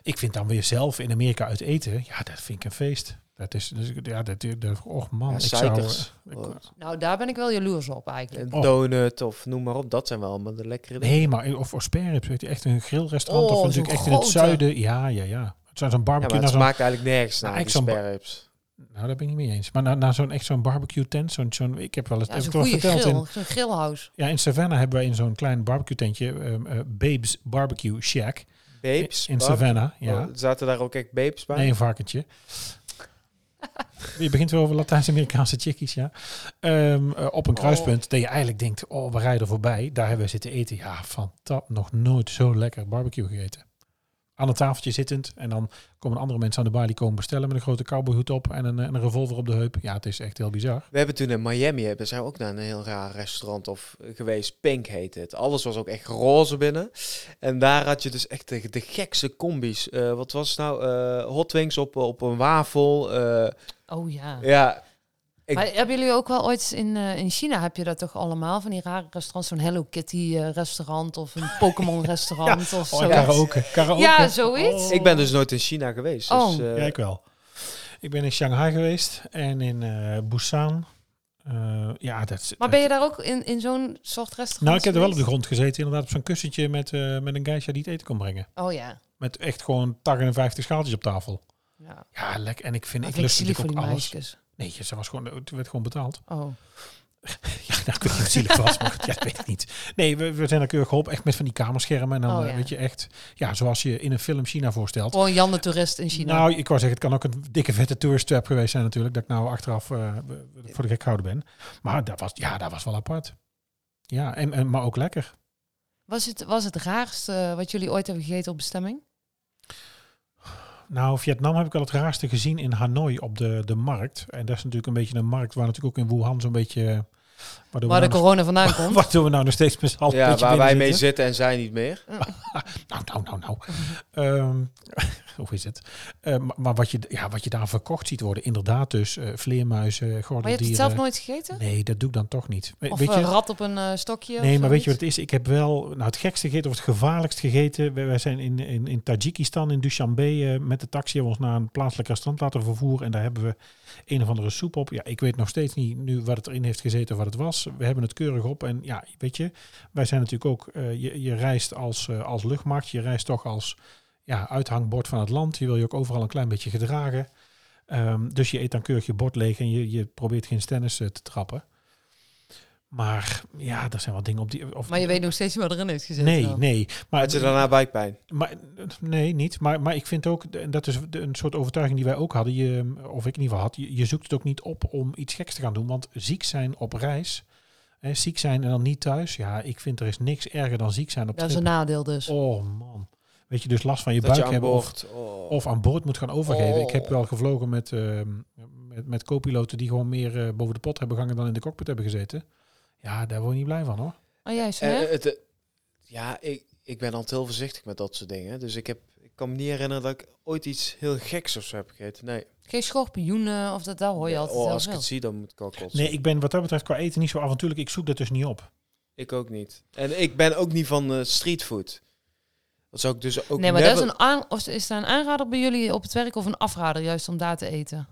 Speaker 2: Ik vind dan weer zelf in Amerika uit eten. Ja, dat vind ik een feest. Dat is, dus, ja, dat, dat, och man.
Speaker 4: Ja,
Speaker 2: ik zou,
Speaker 4: suikers.
Speaker 2: eh, ik-
Speaker 3: Nou, daar ben ik wel jaloers op eigenlijk.
Speaker 4: Een
Speaker 2: Oh.
Speaker 4: donut of noem maar op. Dat zijn wel allemaal de lekkere dingen.
Speaker 2: nee, maar eh, of, of sperrips, weet je, echt een grillrestaurant
Speaker 3: Oh,
Speaker 2: of
Speaker 3: zo'n
Speaker 2: natuurlijk echt in het
Speaker 3: grote.
Speaker 2: zuiden. Ja, ja, ja. Het zou zo'n
Speaker 4: Ja,
Speaker 2: barbecue
Speaker 4: maar
Speaker 2: naar
Speaker 4: het
Speaker 2: zo'n...
Speaker 4: smaakt eigenlijk nergens
Speaker 2: Nou,
Speaker 4: naar, die
Speaker 2: ik zo'n ba-
Speaker 4: sperrips.
Speaker 2: Nou, daar ben ik niet mee eens. Maar naar na zo'n echt zo'n barbecue tent, zo'n, zo'n, ik heb wel eens,
Speaker 3: Ja,
Speaker 2: heb
Speaker 3: zo'n
Speaker 2: ik wel
Speaker 3: goede
Speaker 2: verteld in,
Speaker 3: grill, zo'n grillhouse.
Speaker 2: ja, in Savannah hebben wij in zo'n klein barbecue tentje, ehm, eh, Babes Barbecue Shack
Speaker 4: Babes?
Speaker 2: in
Speaker 4: Bab-
Speaker 2: Savannah. Ja.
Speaker 4: Oh, Zaten daar ook echt babes bij?
Speaker 2: Nee, een varkentje. Je begint weer over Latijns-Amerikaanse chickies, ja. Ehm, eh, op een kruispunt dat je eigenlijk denkt, oh, we rijden voorbij. Daar hebben we zitten eten. Ja, van dat nog nooit zo lekker barbecue gegeten. Aan een tafeltje zittend. En dan komen andere mensen aan de bar die komen bestellen met een grote cowboyhoed op en een, eh, en een revolver op de heup. Ja, het is echt heel bizar.
Speaker 4: We hebben toen in Miami, hebben, zijn we ook naar een heel raar restaurant of, eh, geweest. Pink heette het. Alles was ook echt roze binnen. En daar had je dus echt de, de gekste combis. Eh, wat was het nou? Eh, hot wings op, op een wafel. eh,
Speaker 3: Oh ja.
Speaker 4: ja, ik-
Speaker 3: Maar hebben jullie ook wel ooit in, eh, in China, heb je dat toch allemaal? Van die rare restaurants, zo'n Hello Kitty eh, restaurant of een Pokémon restaurant of zo.
Speaker 2: Oh, karaoke. karaoke. Eh,
Speaker 3: Ja,
Speaker 2: Oh.
Speaker 3: zoiets.
Speaker 4: ik ben dus nooit in China geweest.
Speaker 3: Oh.
Speaker 4: Dus, eh,
Speaker 2: Ja, ik wel. Ik ben in Shanghai geweest en in eh, Busan. Eh, ja, dat is...
Speaker 3: Maar ben je daar ook in, in zo'n soort restaurant
Speaker 2: Nou, ik heb er wel op de
Speaker 3: geweest?
Speaker 2: grond gezeten, inderdaad, op zo'n kussentje met, eh, met een geisha die het eten kon brengen.
Speaker 3: Oh ja.
Speaker 2: Met echt gewoon 58 schaaltjes op tafel.
Speaker 3: ja.
Speaker 2: Ja, lekker. En ik vind,
Speaker 3: Dat
Speaker 2: ik
Speaker 3: vind ik
Speaker 2: lust
Speaker 3: zielig voor
Speaker 2: natuurlijk ook alles.
Speaker 3: die meisjes.
Speaker 2: Nee, ze was gewoon, het werd gewoon betaald.
Speaker 3: Oh.
Speaker 2: Ja, nou, ik weet niet of het zielig was, maar goed, ja, dat weet ik niet. Nee, we, we zijn er keurig geholpen, echt met van die kamerschermen. En dan,
Speaker 3: Oh,
Speaker 2: eh,
Speaker 3: ja.
Speaker 2: weet je, echt, ja, zoals je in een film China voorstelt.
Speaker 3: Gewoon Jan de toerist in China.
Speaker 2: Nou, ik wou zeggen, het kan ook een dikke vette tourist trap geweest zijn natuurlijk. Dat ik nou achteraf eh, voor de gek gehouden ben. Maar dat was, ja, dat was wel apart. Ja, en, en, maar ook lekker.
Speaker 3: Was het, was het raarste wat jullie ooit hebben gegeten op bestemming?
Speaker 2: Nou, Vietnam heb ik wel het raarste gezien in Hanoi op de, de markt. En dat is natuurlijk een beetje een markt waar natuurlijk ook in Wuhan zo'n beetje... eh, Waardoor,
Speaker 3: Waar
Speaker 2: we
Speaker 3: de
Speaker 2: nou,
Speaker 3: corona vandaan
Speaker 2: nog,
Speaker 3: komt?
Speaker 2: waardoor we nou nog steeds met z'n allen een
Speaker 4: ja,
Speaker 2: beetje
Speaker 4: waar wij
Speaker 2: binnen
Speaker 4: mee
Speaker 2: zitten.
Speaker 4: zitten en zij niet meer.
Speaker 2: Nou, nou, nou, nou. Ehm, hoe is het? Eh, maar maar wat, je, ja, wat je daar verkocht ziet worden, inderdaad dus eh, vleermuizen,
Speaker 3: maar je hebt het
Speaker 2: gordeldieren.
Speaker 3: zelf nooit gegeten?
Speaker 2: Nee, dat doe ik dan toch niet. We-
Speaker 3: Of
Speaker 2: weet
Speaker 3: een
Speaker 2: je,
Speaker 3: rat op een eh, stokje?
Speaker 2: Nee,
Speaker 3: of
Speaker 2: maar weet je wat
Speaker 3: zoiets?
Speaker 2: het is? Ik heb wel nou, het gekste gegeten of het gevaarlijkst gegeten. Wij, wij zijn in, in, in Tajikistan, in Dushanbe, eh, met de taxi hebben we ons naar een plaatselijk restaurant laten vervoeren. En daar hebben we een of andere soep op. Ja, ik weet nog steeds niet nu wat het erin heeft gezeten of wat het was. We hebben het keurig op. En ja, weet je, wij zijn natuurlijk ook, eh, je, je reist als, eh, als luchtmacht. Je reist toch als ja, uithangbord van het land. Je wil je ook overal een klein beetje gedragen. Ehm, dus je eet dan keurig je bord leeg en je, je probeert geen stennis eh, te trappen. Maar ja, er zijn wel dingen op die... Of,
Speaker 3: Maar je weet nog steeds niet wat erin heeft gezeten.
Speaker 2: Nee,
Speaker 3: dan.
Speaker 2: nee. Maar,
Speaker 4: Had je daarna buikpijn?
Speaker 2: maar, nee, niet. Maar, maar ik vind ook, en dat is de- een soort overtuiging die wij ook hadden, je, of ik in ieder geval had, je, je zoekt het ook niet op om iets geks te gaan doen. Want ziek zijn op reis, hè, ziek zijn en dan niet thuis. Ja, ik vind er is niks erger dan ziek zijn op
Speaker 3: Dat is
Speaker 2: trip.
Speaker 3: een nadeel dus.
Speaker 2: Oh man. Weet je, dus last van je
Speaker 4: dat
Speaker 2: buik
Speaker 4: je aan
Speaker 2: hebben of,
Speaker 4: boord... oh.
Speaker 2: of aan boord moet gaan overgeven. Ik heb
Speaker 4: Oh.
Speaker 2: wel gevlogen met, ehm met, met co-piloten die gewoon meer eh, boven de pot hebben gehangen dan in de cockpit hebben gezeten. Ja, daar word je niet blij van hoor.
Speaker 3: Oh, jij is
Speaker 4: Eh, het, eh, ja, ik, ik ben altijd heel voorzichtig met dat soort dingen. Dus ik heb, ik kan me niet herinneren dat ik ooit iets heel geks of zo heb gegeten. Nee.
Speaker 3: Geen schorpioenen of dat, daar hoor je
Speaker 4: Nee,
Speaker 3: altijd
Speaker 4: oh,
Speaker 3: heel
Speaker 4: als ik
Speaker 3: veel.
Speaker 4: het zie, dan moet ik al kotsen.
Speaker 2: Nee, ik ben wat dat betreft qua eten niet zo avontuurlijk. Ik zoek dat dus niet op.
Speaker 4: Ik ook niet. En ik ben ook niet van eh, streetfood. Dat zou ik dus ook
Speaker 3: nee, maar
Speaker 4: never-
Speaker 3: dat is, een aan, of is daar een aanrader bij jullie op het werk of een afrader juist om daar te eten?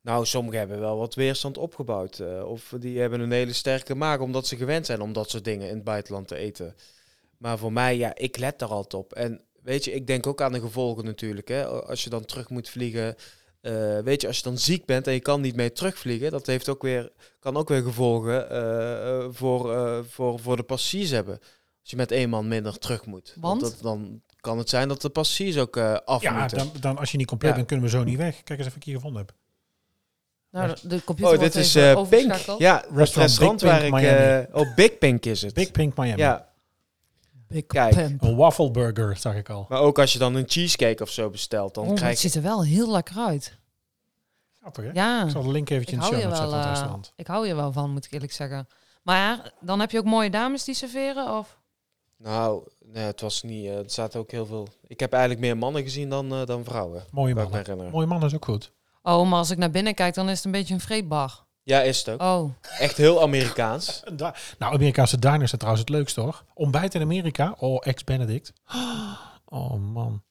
Speaker 4: Nou, sommigen hebben wel wat weerstand opgebouwd. eh, of die hebben een hele sterke maag omdat ze gewend zijn om dat soort dingen in het buitenland te eten. Maar voor mij, ja, ik let daar altijd op. En weet je, ik denk ook aan de gevolgen natuurlijk. Hè? Als je dan terug moet vliegen. eh, weet je, als je dan ziek bent en je kan niet mee terugvliegen, dat heeft ook weer, kan ook weer gevolgen eh, eh, voor, eh, voor, voor de passagiers hebben. Als je met één man minder terug moet.
Speaker 3: Want?
Speaker 4: dat, dan kan het zijn dat de passagiers ook eh af
Speaker 2: Ja,
Speaker 4: moeten.
Speaker 2: dan, dan als je niet compleet
Speaker 4: Ja.
Speaker 2: bent, kunnen we zo niet weg. Kijk eens of ik hier gevonden heb.
Speaker 3: Nou,
Speaker 2: Echt?
Speaker 3: de- de computer
Speaker 4: Oh, dit
Speaker 3: wordt
Speaker 4: is
Speaker 3: even
Speaker 4: eh Pink.
Speaker 3: overgeschakeld.
Speaker 4: Ja, het
Speaker 2: Restaurant
Speaker 4: restaurant
Speaker 2: Big
Speaker 4: waar
Speaker 2: Pink,
Speaker 4: ik...
Speaker 2: Miami.
Speaker 4: eh, oh, Big Pink is het.
Speaker 2: Big Pink Miami.
Speaker 4: Ja,
Speaker 3: Big
Speaker 4: Kijk.
Speaker 3: Pimp.
Speaker 2: Een waffleburger, zag ik al.
Speaker 4: maar ook als je dan een cheesecake of zo bestelt, dan
Speaker 3: Oh, maar
Speaker 4: krijg
Speaker 3: het
Speaker 4: je...
Speaker 3: ziet er wel heel lekker uit.
Speaker 2: Grappig, hè?
Speaker 3: Ja,
Speaker 2: Ik zal de link eventjes
Speaker 3: ik
Speaker 2: in de
Speaker 3: hou,
Speaker 2: show
Speaker 3: je
Speaker 2: notes zetten
Speaker 3: wel,
Speaker 2: van het
Speaker 3: eh,
Speaker 2: restaurant.
Speaker 3: ik hou je wel van, moet ik eerlijk zeggen. Maar dan heb je ook mooie dames die serveren? Of?
Speaker 4: Nou, nee, het was niet... eh, er zaten ook heel veel... Ik heb eigenlijk meer mannen gezien dan, eh, dan vrouwen.
Speaker 2: Mooie
Speaker 4: Kan ik me
Speaker 2: mannen.
Speaker 3: eh,
Speaker 4: herinneren.
Speaker 2: Mooie mannen is ook goed.
Speaker 3: Oh, maar als ik naar binnen kijk, dan is het een beetje een vreedbar.
Speaker 4: Ja, is het ook.
Speaker 3: Oh,
Speaker 4: Echt heel Amerikaans.
Speaker 2: En da- nou, Amerikaanse diners zijn trouwens het leukst, hoor. Ontbijt in Amerika. Oh, ex-Benedict. Oh, man.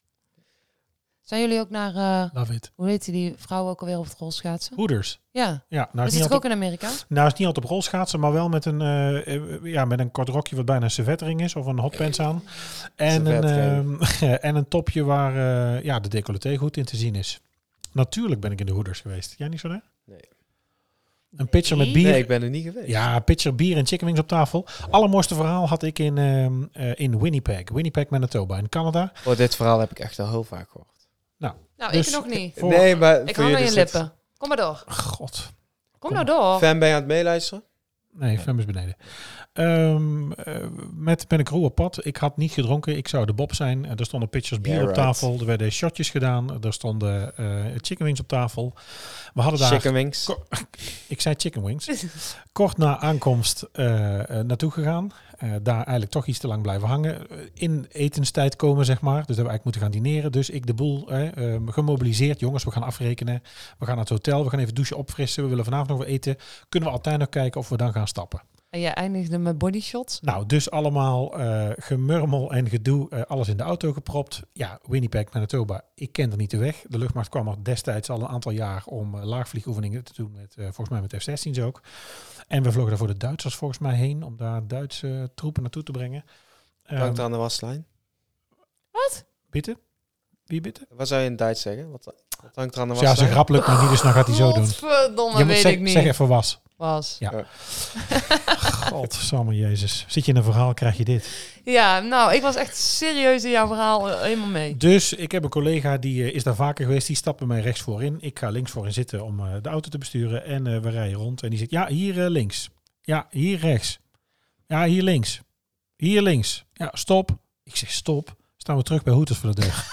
Speaker 3: zijn jullie ook naar, eh,
Speaker 2: Love it.
Speaker 3: hoe heet die, die vrouw ook alweer op het rolschaatsen?
Speaker 2: Hoeders.
Speaker 3: Ja,
Speaker 2: Ja, nou
Speaker 3: dat
Speaker 2: is, niet
Speaker 3: zit ik
Speaker 2: altijd,
Speaker 3: ook in Amerika.
Speaker 2: nou is niet altijd op rolschaatsen, maar wel met een, eh, eh, ja, met een kort rokje wat bijna een servettering is. Of een hotpants aan. En een, eh, en een topje waar eh, ja, de decolleté goed in te zien is. Natuurlijk ben ik in de hoeders geweest. Jij niet zo, hè?
Speaker 4: Nee.
Speaker 2: Een pitcher met
Speaker 3: Nee.
Speaker 2: bier.
Speaker 4: Nee, ik ben er niet geweest.
Speaker 2: Ja, pitcher bier en chicken wings op tafel. Allermooiste verhaal had ik in, ehm, eh, in Winnipeg. Winnipeg, Manitoba in Canada.
Speaker 4: Oh, dit verhaal heb ik echt al heel vaak gehoord.
Speaker 3: Nou,
Speaker 2: Dus-
Speaker 3: ik nog niet.
Speaker 2: Voor-
Speaker 4: Nee, maar...
Speaker 3: Ik
Speaker 4: voor
Speaker 3: hang aan je
Speaker 4: dus het-
Speaker 3: lippen. Kom maar door.
Speaker 2: God.
Speaker 3: Kom nou door.
Speaker 4: Fan ben je aan het meeluisteren?
Speaker 2: Nee, Fem is beneden. Ehm, eh, met ben ik roe op pad. Ik had niet gedronken. Ik zou de Bob zijn. En er stonden pitchers bier
Speaker 4: Yeah,
Speaker 2: op
Speaker 4: right.
Speaker 2: tafel. Er werden shotjes gedaan. Er stonden eh, chicken wings op tafel. We hadden daar...
Speaker 4: Chicken wings.
Speaker 2: Ko- Ik zei chicken wings. Kort na aankomst eh, eh, naartoe gegaan. Eh, daar eigenlijk toch iets te lang blijven hangen. Eh, In etenstijd komen, zeg maar. Dus dat we eigenlijk moeten gaan dineren. Dus ik de boel eh, ehm, gemobiliseerd. Jongens, we gaan afrekenen. We gaan naar het hotel. We gaan even douchen, opfrissen. We willen vanavond nog wat eten. Kunnen we altijd nog kijken of we dan gaan stappen.
Speaker 3: En jij eindigde met bodyshots.
Speaker 2: Nou, dus allemaal eh, gemurmel en gedoe, eh, alles in de auto gepropt. Ja, Winnipeg, Manitoba, ik kende niet de weg. De luchtmacht kwam er destijds al een aantal jaar om eh, laagvliegoefeningen te doen, met, eh, volgens mij met F-16's ook. En we vlogen daar voor de Duitsers volgens mij heen, om daar Duitse eh, troepen naartoe te brengen.
Speaker 4: Hangt
Speaker 2: Ehm,
Speaker 4: aan de waslijn.
Speaker 2: bitte? Wie bitte?
Speaker 4: Wat zou je in Duits zeggen? Wat, wat hangt er aan de
Speaker 2: Ja, zijn
Speaker 4: waslijn?
Speaker 2: grap lukt maar niet, dus dan gaat hij zo doen.
Speaker 3: Godverdomme,
Speaker 2: Je moet
Speaker 3: weet
Speaker 2: zeg,
Speaker 3: ik niet.
Speaker 2: zeg even was.
Speaker 3: Was.
Speaker 2: God, samen Jezus. Zit je in een verhaal, krijg je dit.
Speaker 3: Ja, nou, ik was echt serieus in jouw verhaal eh, helemaal mee.
Speaker 2: Dus ik heb een collega die eh, is daar vaker geweest. Die stapt bij mij rechts voorin. Ik ga links voorin zitten om eh, de auto te besturen. En eh, we rijden rond. En die zegt, ja, hier eh, links. Ja, hier rechts. Ja, hier links. Hier links. Ja, stop. Ik zeg, stop. Staan we terug bij Hoeters voor de deur.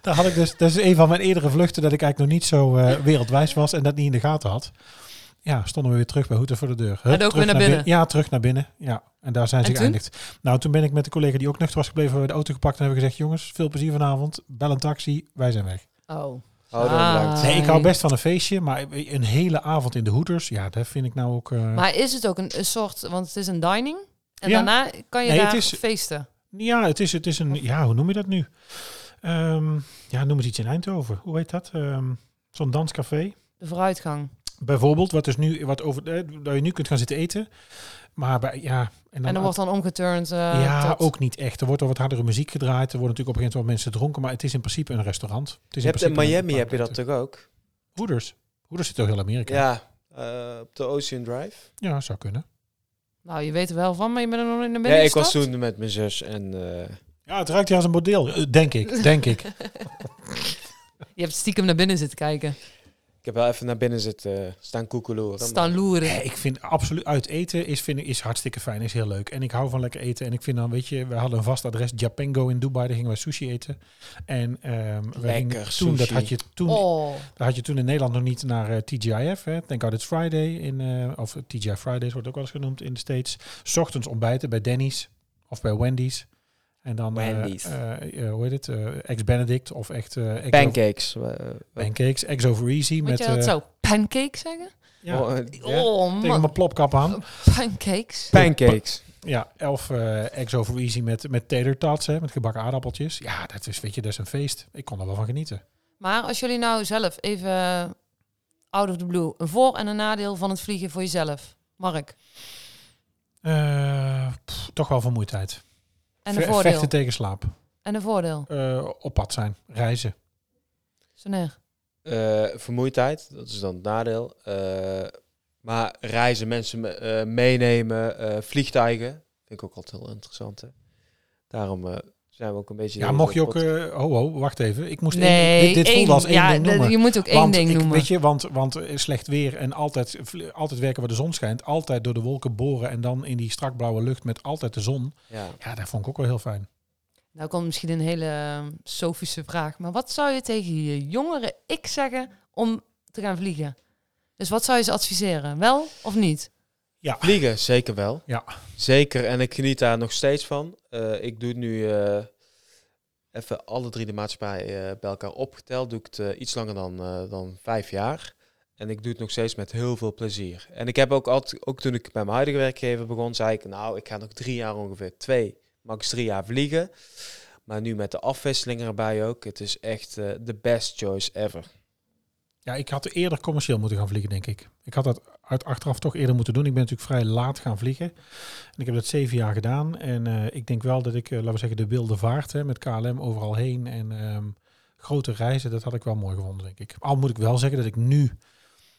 Speaker 2: daar had ik dus, dat is een van mijn eerdere vluchten dat ik eigenlijk nog niet zo eh, wereldwijs was en dat niet in de gaten had. Ja, stonden we weer terug bij Hoeters voor de deur. Hup,
Speaker 3: En ook
Speaker 2: terug
Speaker 3: weer naar binnen.
Speaker 2: Ja, terug naar binnen. Ja, en daar zijn ze
Speaker 3: En toen?
Speaker 2: geëindigd. Nou, toen ben ik met de collega die ook nuchter was gebleven, hebben we de auto gepakt en hebben gezegd: jongens, veel plezier vanavond. Bel een taxi, wij zijn weg.
Speaker 3: Oh.
Speaker 4: Hou dan
Speaker 3: Ah.
Speaker 4: bedankt.
Speaker 2: Nee, ik
Speaker 3: Ai.
Speaker 2: hou best van een feestje, maar een hele avond in de hoeders, ja, dat vind ik nou ook. eh,
Speaker 3: Maar is het ook een, een soort, want het is een dining. En
Speaker 2: Ja.
Speaker 3: daarna kan je
Speaker 2: Nee, het
Speaker 3: daar
Speaker 2: is-
Speaker 3: feesten.
Speaker 2: Ja, het is, het is een. Ja, hoe noem je dat nu? Ehm, ja, noem eens iets in Eindhoven. Hoe heet dat? Ehm, Zo'n danscafé.
Speaker 3: De vooruitgang.
Speaker 2: Bijvoorbeeld, wat is nu, wat over, eh, dat je nu kunt gaan zitten eten. Maar bij, ja,
Speaker 3: en dan wordt dan omgeturnd. eh,
Speaker 2: ja,
Speaker 3: tot-
Speaker 2: ook niet echt. Er wordt al wat hardere muziek gedraaid. Er worden natuurlijk op een gegeven moment wel mensen dronken, maar het is in principe een restaurant. Het is
Speaker 4: Je hebt in
Speaker 2: principe een-
Speaker 4: Miami heb je dat toch ook?
Speaker 2: Hoeders. Hoeders zit door heel Amerika. Ja,
Speaker 4: Ja, eh, op de Ocean Drive.
Speaker 2: zou kunnen.
Speaker 3: Nou, je weet er wel van, maar je bent er nog in de
Speaker 4: Ja,
Speaker 3: binnen
Speaker 4: ik was toen met mijn zus en eh,
Speaker 2: Ja, het ruikt hier als een bordeel. Eh, Denk ik, denk ik.
Speaker 3: Je hebt stiekem naar binnen zitten kijken.
Speaker 4: ik heb wel even naar binnen zitten staan koekeloeren.
Speaker 3: Staan loeren.
Speaker 2: Nee, ik vind absoluut uit eten is, vind ik, is hartstikke fijn, is heel leuk. En ik hou van lekker eten. En ik vind dan, weet je, we hadden een vast adres, Japango in Dubai, daar gingen wij sushi eten. En ehm we gingen
Speaker 4: Lekker
Speaker 2: toen,
Speaker 4: sushi.
Speaker 2: dat had je toen,
Speaker 3: Oh.
Speaker 2: dat had je toen in Nederland nog niet naar eh, TGIF, hè. Thank God It's Friday, in, eh, of TGI Fridays wordt ook wel eens genoemd in de States. 's Ochtends ontbijten bij Denny's of bij Wendy's. En dan, eh,
Speaker 4: Wendy's.
Speaker 2: eh, eh, hoe heet het, eh, ex-Benedict of echt... eh, ex-
Speaker 4: Pancakes. eh, eh,
Speaker 2: Pancakes, ex over easy.
Speaker 3: Moet
Speaker 2: met,
Speaker 3: je dat
Speaker 2: eh,
Speaker 3: zo pancake zeggen?
Speaker 2: ja,
Speaker 4: oh, eh, ja.
Speaker 3: Oh
Speaker 2: tegen
Speaker 3: man,
Speaker 2: mijn plopkap aan.
Speaker 3: pancakes.
Speaker 4: Pancakes.
Speaker 2: Ja, elf eh ex over easy met, met tater tots, hè, met gebakken aardappeltjes. Ja, dat is, weet je, dat is een feest. Ik kon er wel van genieten.
Speaker 3: Maar als jullie nou zelf even eh, out of the blue, een voor- en een nadeel van het vliegen voor jezelf, Mark.
Speaker 2: Eh, pff, toch wel vermoeidheid.
Speaker 3: En een
Speaker 2: Ve-
Speaker 3: voordeel.
Speaker 2: Vechten tegen slaap.
Speaker 3: En een voordeel.
Speaker 2: Eh, op pad zijn. Reizen.
Speaker 3: Soner.
Speaker 4: Eh, vermoeidheid, dat is dan het nadeel. Eh, maar reizen, mensen me- eh, meenemen, eh, vliegtuigen. Vind ik ook altijd heel interessant. Hè? Daarom eh, zijn we ook een beetje...
Speaker 2: Ja,
Speaker 4: heel
Speaker 2: mocht je ook...
Speaker 4: pod-
Speaker 2: eh ho, ho, wacht even. Ik moest één,
Speaker 3: Nee,
Speaker 2: dit, dit
Speaker 3: één.
Speaker 2: voelde als één
Speaker 3: ja,
Speaker 2: ding
Speaker 3: dat-
Speaker 2: noemen.
Speaker 3: je moet ook één
Speaker 2: want
Speaker 3: ding
Speaker 2: ik-
Speaker 3: noemen.
Speaker 2: Weet je, want, want eh, slecht weer en altijd, vl- altijd werken waar de zon schijnt. Altijd door de wolken boren en dan in die strakblauwe lucht met altijd de zon.
Speaker 4: Ja.
Speaker 2: Ja, dat vond ik ook wel heel fijn.
Speaker 3: Nou komt misschien een hele eh, sofische vraag. Maar wat zou je tegen je jongere ik zeggen om te gaan vliegen? Dus wat zou je ze adviseren? Wel of niet?
Speaker 4: Vliegen, zeker wel.
Speaker 2: Ja.
Speaker 4: Zeker, en ik geniet daar nog steeds van. Eh, ik doe nu eh, even alle drie de maatschappijen eh, bij elkaar opgeteld. Doe ik het eh, iets langer dan, eh, dan vijf jaar. En ik doe het nog steeds met heel veel plezier. En ik heb ook altijd, ook toen ik bij mijn huidige werkgever begon, zei ik, nou, ik ga nog drie jaar ongeveer, twee, max drie jaar vliegen. Maar nu met de afwisseling erbij ook, het is echt de best choice ever.
Speaker 2: Ja, ik had eerder commercieel moeten gaan vliegen, denk ik. Ik had dat uit achteraf toch eerder moeten doen. Ik ben natuurlijk vrij laat gaan vliegen. En ik heb dat zeven jaar gedaan. En eh, ik denk wel dat ik, eh, laten we zeggen, de wilde vaart hè, met KLM overal heen. En ehm, grote reizen, dat had ik wel mooi gevonden, denk ik. Al moet ik wel zeggen dat ik nu...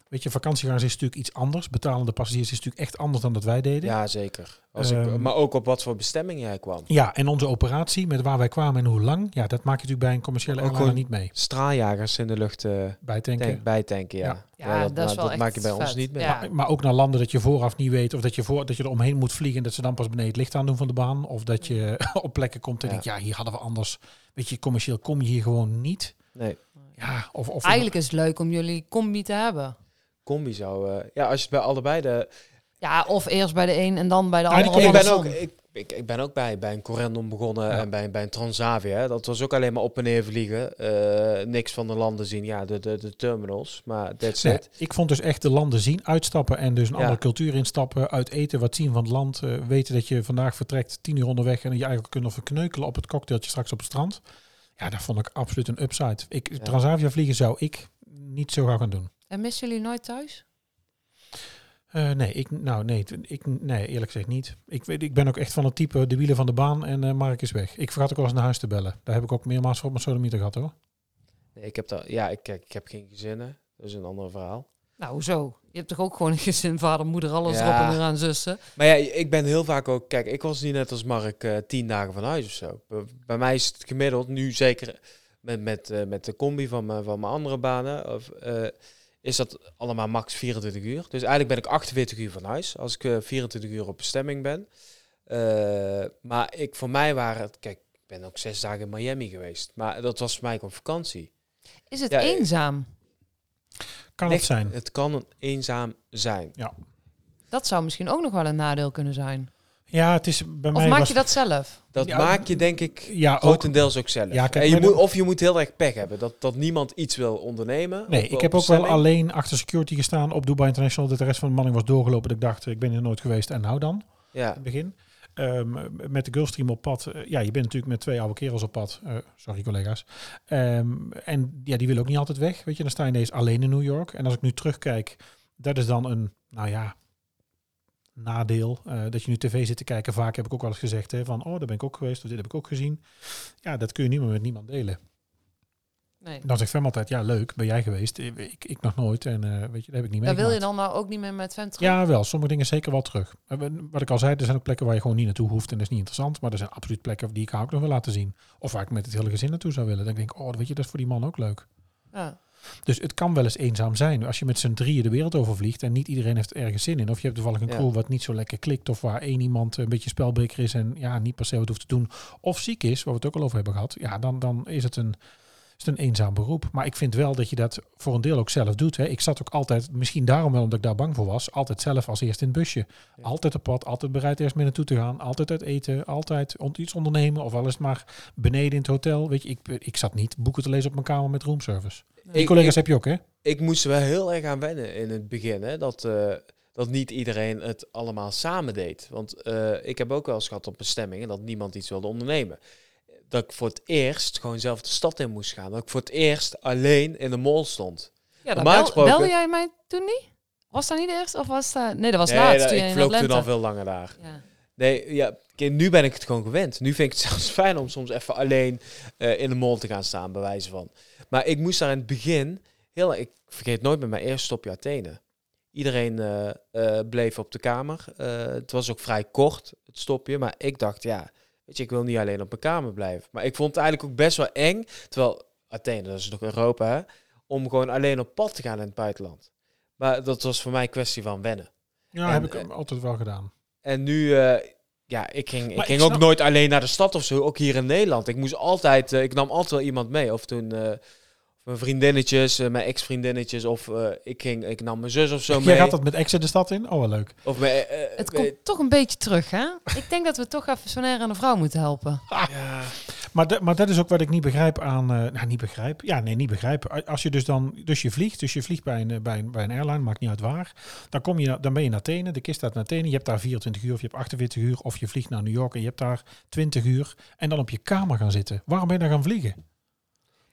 Speaker 2: Weet je, vakantiegaars is natuurlijk iets anders. Betalende passagiers is natuurlijk echt anders dan dat wij deden.
Speaker 4: Ja, zeker. Als ik,
Speaker 2: Ehm.
Speaker 4: maar ook op wat voor bestemming jij kwam.
Speaker 2: Ja, en onze operatie met waar wij kwamen en hoe lang. Ja, dat maak je natuurlijk bij een commerciële
Speaker 4: Ook
Speaker 2: airline
Speaker 4: gewoon
Speaker 2: niet mee.
Speaker 4: Straaljagers in de lucht... eh,
Speaker 2: Bij tanken.
Speaker 4: Tank, bijtanken, ja.
Speaker 2: Ja.
Speaker 3: Ja,
Speaker 4: Ja,
Speaker 3: dat, is
Speaker 4: ma-
Speaker 3: wel echt
Speaker 4: maak je bij ons
Speaker 3: vet.
Speaker 4: niet mee.
Speaker 3: Ja.
Speaker 2: Maar ook naar landen dat je vooraf niet weet. Of dat je, voor, dat je er omheen moet vliegen. En dat ze dan pas beneden het licht aan doen van de baan. Of dat je op plekken komt en
Speaker 4: Ja.
Speaker 2: denkt, ja, hier hadden we anders. Weet je, commercieel kom je hier gewoon niet.
Speaker 4: Nee,
Speaker 2: Ja, of, of
Speaker 3: Eigenlijk is het leuk om jullie combi te hebben.
Speaker 4: combi zou... eh, ja, als je het bij allebei de...
Speaker 3: Ja, of eerst bij de een en dan bij de
Speaker 2: Ah, die
Speaker 3: ander.
Speaker 2: combi-
Speaker 3: of
Speaker 4: ik, ben ook,
Speaker 3: andersom.
Speaker 4: ik, ik, ik ben ook bij, bij een Corendon begonnen
Speaker 2: Ja.
Speaker 4: en bij, bij een Transavia. hè. Dat was ook alleen maar op en neer vliegen. eh, niks van de landen zien. Ja, de, de, de terminals. Maar that's
Speaker 2: Nee,
Speaker 4: it.
Speaker 2: ik vond dus echt de landen zien, uitstappen en dus een
Speaker 4: Ja.
Speaker 2: andere cultuur instappen. Uit eten, wat zien van het land. eh, weten dat je vandaag vertrekt, tien uur onderweg en je eigenlijk kunnen verkneukelen op het cocktailtje straks op het strand. Ja, dat vond ik absoluut een upside. Ik,
Speaker 4: Ja.
Speaker 2: Transavia vliegen zou ik niet zo graag gaan doen.
Speaker 3: En missen jullie nooit thuis?
Speaker 2: Eh, nee, ik, nou, nee, t- ik, nee, eerlijk gezegd niet. Ik, weet, ik ben ook echt van het type de wielen van de baan en eh, Mark is weg. Ik vergat ook wel eens naar huis te bellen. Daar heb ik ook meermaals voor op mijn sodomieter gehad hoor.
Speaker 4: Nee, ik heb daar... Ja, ik, kijk, ik heb geen gezinnen. Dat is een ander verhaal.
Speaker 3: Nou, hoezo? Je hebt toch ook gewoon een gezin, vader, moeder, alles
Speaker 4: Ja.
Speaker 3: erop en eraan, zussen.
Speaker 4: Maar ja, ik ben heel vaak ook... Kijk, ik was niet net als Mark eh, tien dagen van huis of zo. Bij, bij mij is het gemiddeld nu zeker met, met, eh, met de combi van mijn, van mijn andere banen... Of, eh, is dat allemaal max 24 uur. Dus eigenlijk ben ik 48 uur van huis als ik eh, 24 uur op bestemming ben. Eh, maar ik, voor mij waren het... Kijk, ik ben ook zes dagen in Miami geweest. Maar dat was voor mij gewoon vakantie.
Speaker 3: Is het
Speaker 4: Ja, ik-
Speaker 3: eenzaam?
Speaker 2: Kan
Speaker 4: Echt,
Speaker 2: het zijn.
Speaker 4: Het kan een eenzaam zijn.
Speaker 3: Dat zou misschien ook nog wel een nadeel kunnen zijn.
Speaker 2: Ja, het is bij
Speaker 3: Of
Speaker 2: mij
Speaker 3: maak
Speaker 2: was-
Speaker 3: je dat zelf?
Speaker 4: Dat
Speaker 2: Ja,
Speaker 4: maak je denk ik
Speaker 2: ja, ook,
Speaker 4: Grotendeels Ah, ook zelf.
Speaker 2: Ja, kijk,
Speaker 4: en je
Speaker 2: met-
Speaker 4: moet, of je moet heel erg pech hebben dat, dat niemand iets wil ondernemen.
Speaker 2: Nee,
Speaker 4: op-
Speaker 2: ik
Speaker 4: op
Speaker 2: heb ook wel
Speaker 4: bestemming.
Speaker 2: alleen achter security gestaan op Dubai International. Dat de rest van de manning was doorgelopen. Dat ik dacht, ik ben hier nooit geweest en nou dan. In
Speaker 4: Ja,
Speaker 2: het begin. Ehm, met de Gulfstream op pad. eh, ja, je bent natuurlijk met twee oude kerels op pad. Eh, sorry collega's. Ehm, en ja, die willen ook niet altijd weg. Weet je, dan sta je ineens alleen in New York. En als ik nu terugkijk, dat is dan een, nou ja, nadeel. eh, dat je nu tv zit te kijken. Vaak heb ik ook wel eens gezegd, hè, van, oh, daar ben ik ook geweest. Of dit heb ik ook gezien. Ja, dat kun je niet meer met niemand delen.
Speaker 3: Nee.
Speaker 2: Dan zegt Fem altijd, ja leuk, ben jij geweest? Ik, ik nog nooit en eh, weet je, dat heb ik niet
Speaker 3: Daar
Speaker 2: meegemaakt.
Speaker 3: wil je dan nou ook niet meer met Vent terug?
Speaker 2: Ja, wel. Sommige dingen zeker wel terug. Eh, we- Wat ik al zei, er zijn ook plekken waar je gewoon niet naartoe hoeft en dat is niet interessant. Maar er zijn absoluut plekken die ik haar ook nog wil laten zien. Of waar ik met het hele gezin naartoe zou willen. Dan denk ik, oh, weet je, dat is voor die man ook leuk.
Speaker 3: Ja.
Speaker 2: Dus het kan wel eens eenzaam zijn. Als je met z'n drieën de wereld overvliegt en niet iedereen heeft ergens zin in. Of je hebt toevallig een
Speaker 4: Ja.
Speaker 2: crew wat niet zo lekker klikt. Of waar één iemand een beetje spelbreker is en ja, niet per se wat hoeft te doen. Of ziek is, waar we het ook al over hebben gehad. Ja, dan, dan is het een is het een eenzaam beroep. Maar ik vind wel dat je dat voor een deel ook zelf doet. Hè. Ik zat ook altijd, misschien daarom wel omdat ik daar bang voor was, altijd zelf als eerst in het busje.
Speaker 4: Ja.
Speaker 2: Altijd op pad, altijd bereid eerst mee naartoe te gaan. Altijd uit eten, altijd ont- iets ondernemen. Of wel eens maar beneden in het hotel. Weet je, ik, ik zat niet boeken te lezen op mijn kamer met roomservice. Die
Speaker 4: Ik-
Speaker 2: collega's
Speaker 4: ik-
Speaker 2: heb je ook, hè?
Speaker 4: ik moest er wel heel erg aan wennen in het begin. Hè, dat, eh, dat niet iedereen het allemaal samen deed. Want eh, ik heb ook wel eens gehad op bestemmingen dat niemand iets wilde ondernemen. Dat ik voor het eerst gewoon zelf de stad in moest gaan. Dat ik voor het eerst alleen in de mall stond.
Speaker 3: Ja, dan
Speaker 4: Normaal
Speaker 3: bel,
Speaker 4: gesproken-
Speaker 3: belde jij mij toen niet? Was dat niet eerst? Of was dat... Nee, dat was
Speaker 4: Nee,
Speaker 3: laatst
Speaker 4: dat-
Speaker 3: toen je
Speaker 4: ik
Speaker 3: in
Speaker 4: vloog
Speaker 3: Atlanta...
Speaker 4: toen al veel langer daar.
Speaker 3: Ja.
Speaker 4: Nee, ja, kijk, nu ben ik het gewoon gewend. Nu vind ik het zelfs fijn om soms even alleen eh, in de mall te gaan staan, bij wijze van. Maar ik moest daar in het begin, heel, ik vergeet nooit met mijn eerste stopje Athene. Iedereen eh, eh, bleef op de kamer. Eh, het was ook vrij kort, het stopje. Maar ik dacht, ja, weet je, ik wil niet alleen op mijn kamer blijven. Maar ik vond het eigenlijk ook best wel eng. Terwijl Athene, dat is nog Europa, hè, om gewoon alleen op pad te gaan in het buitenland. Maar dat was voor mij een kwestie van wennen.
Speaker 2: Ja,
Speaker 4: En,
Speaker 2: heb ik
Speaker 4: eh,
Speaker 2: hem altijd wel gedaan.
Speaker 4: En nu, eh, ja, ik ging, ik
Speaker 2: Maar
Speaker 4: ging
Speaker 2: ik
Speaker 4: ook
Speaker 2: snap-
Speaker 4: nooit alleen naar de stad of zo. Ook hier in Nederland. Ik moest altijd, eh, ik nam altijd wel iemand mee. Of toen eh, mijn vriendinnetjes, eh, mijn ex-vriendinnetjes. Of eh, ik, ging, ik nam mijn zus of zo
Speaker 2: Jij
Speaker 4: mee.
Speaker 2: gaat dat met Exit de stad in? Oh, wel leuk.
Speaker 4: Of mijn, eh, eh,
Speaker 3: Het
Speaker 4: eh,
Speaker 3: komt toch een beetje terug, hè? Ik denk dat we toch even zo'n her aan de vrouw moeten helpen.
Speaker 4: ja.
Speaker 2: Maar, da- maar dat is ook wat ik niet begrijp aan... eh, nou, niet begrijp. Ja, nee, niet begrijp. A- Als je dus dan... Dus je vliegt. Dus je vliegt bij een, eh, bij een, bij een airline. Maakt niet uit waar. Dan, kom je, na- dan ben je in Athene. De kist staat in Athene. Je hebt daar 24 uur of je hebt 48 uur. Of je vliegt naar New York en je hebt daar 20 uur. En dan op je kamer gaan zitten. Waarom ben je dan gaan vliegen?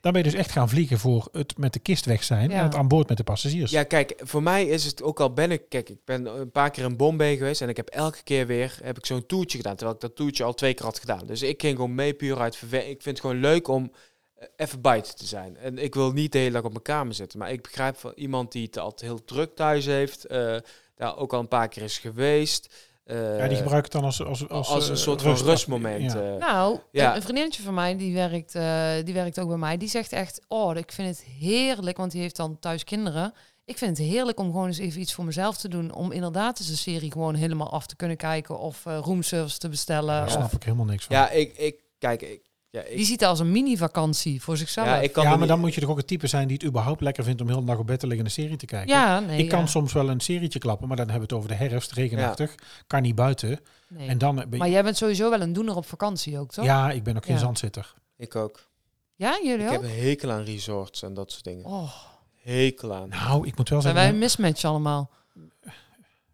Speaker 2: Dan ben je dus echt gaan vliegen voor het met de kist weg zijn.
Speaker 3: Ja.
Speaker 2: En het aan boord met de passagiers.
Speaker 4: Ja, kijk, voor mij is het ook al ben ik, kijk, ik ben een paar keer in Bombay geweest en ik heb elke keer weer heb ik zo'n toertje gedaan, terwijl ik dat toertje al twee keer had gedaan. Dus ik ging gewoon mee puur uit verwe- Ik vind het gewoon leuk om eh, even buiten te zijn. En ik wil niet de hele dag op mijn kamer zitten, maar ik begrijp van iemand die het altijd heel druk thuis heeft, eh, daar ook al een paar keer is geweest. eh,
Speaker 2: Ja, die gebruiken het dan als... Als,
Speaker 4: als,
Speaker 2: als,
Speaker 4: een
Speaker 2: eh,
Speaker 4: soort van
Speaker 2: rust-
Speaker 4: rustmoment.
Speaker 2: Ja.
Speaker 4: eh.
Speaker 3: Nou,
Speaker 4: Ja.
Speaker 3: een- een vriendinnetje van mij, die werkt, eh, die werkt ook bij mij, die zegt echt, oh, ik vind het heerlijk, want die heeft dan thuis kinderen. Ik vind het heerlijk om gewoon eens even iets voor mezelf te doen. Om inderdaad eens een serie gewoon helemaal af te kunnen kijken. Of eh roomservice te bestellen.
Speaker 2: Daar snap
Speaker 3: Eh, Of,
Speaker 2: ik helemaal niks van.
Speaker 4: ja, ik, ik kijk, ik, ja, ik,
Speaker 3: die ziet het als een mini-vakantie voor zichzelf.
Speaker 4: ja,
Speaker 3: Ja,
Speaker 4: ik
Speaker 2: ja,
Speaker 4: kan er
Speaker 2: maar
Speaker 4: niet-
Speaker 2: dan moet je toch ook het type zijn die het überhaupt lekker vindt om heel de dag op bed te liggen en een serie te kijken.
Speaker 3: nee.
Speaker 2: ik kan
Speaker 3: ja.
Speaker 2: soms wel een serietje klappen, maar dan hebben we het over de herfst, regenachtig, kan niet buiten.
Speaker 3: Nee.
Speaker 2: En dan eh, ben
Speaker 3: Maar jij bent sowieso wel een doener op vakantie ook, toch?
Speaker 2: ja, ik ben ook geen
Speaker 3: Ja.
Speaker 2: zandzitter.
Speaker 4: ik ook.
Speaker 3: Ja, jullie
Speaker 4: Ik heb
Speaker 3: ook?
Speaker 4: een hekel aan resorts en dat soort dingen.
Speaker 3: Oh,
Speaker 4: Hekel aan.
Speaker 2: Nou, ik moet wel zeggen.
Speaker 3: zijn wij een mismatch allemaal?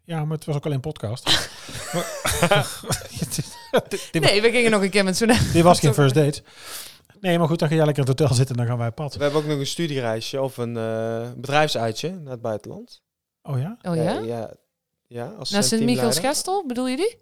Speaker 2: Ja, maar het was ook alleen podcast. dit-
Speaker 3: Nee, we gingen nog een keer met Oh zo'n...
Speaker 2: Dit was geen first date. Nee, maar goed, dan ga jij lekker in het hotel zitten en dan gaan wij op pad.
Speaker 4: We hebben ook nog een studiereisje of een eh, bedrijfsuitje naar het buitenland.
Speaker 2: Oh ja?
Speaker 3: Oh ja?
Speaker 4: Eh, ja, ja, als
Speaker 3: Naar
Speaker 4: teamleider.
Speaker 3: Sint-Michiels-Gestel, bedoel je die?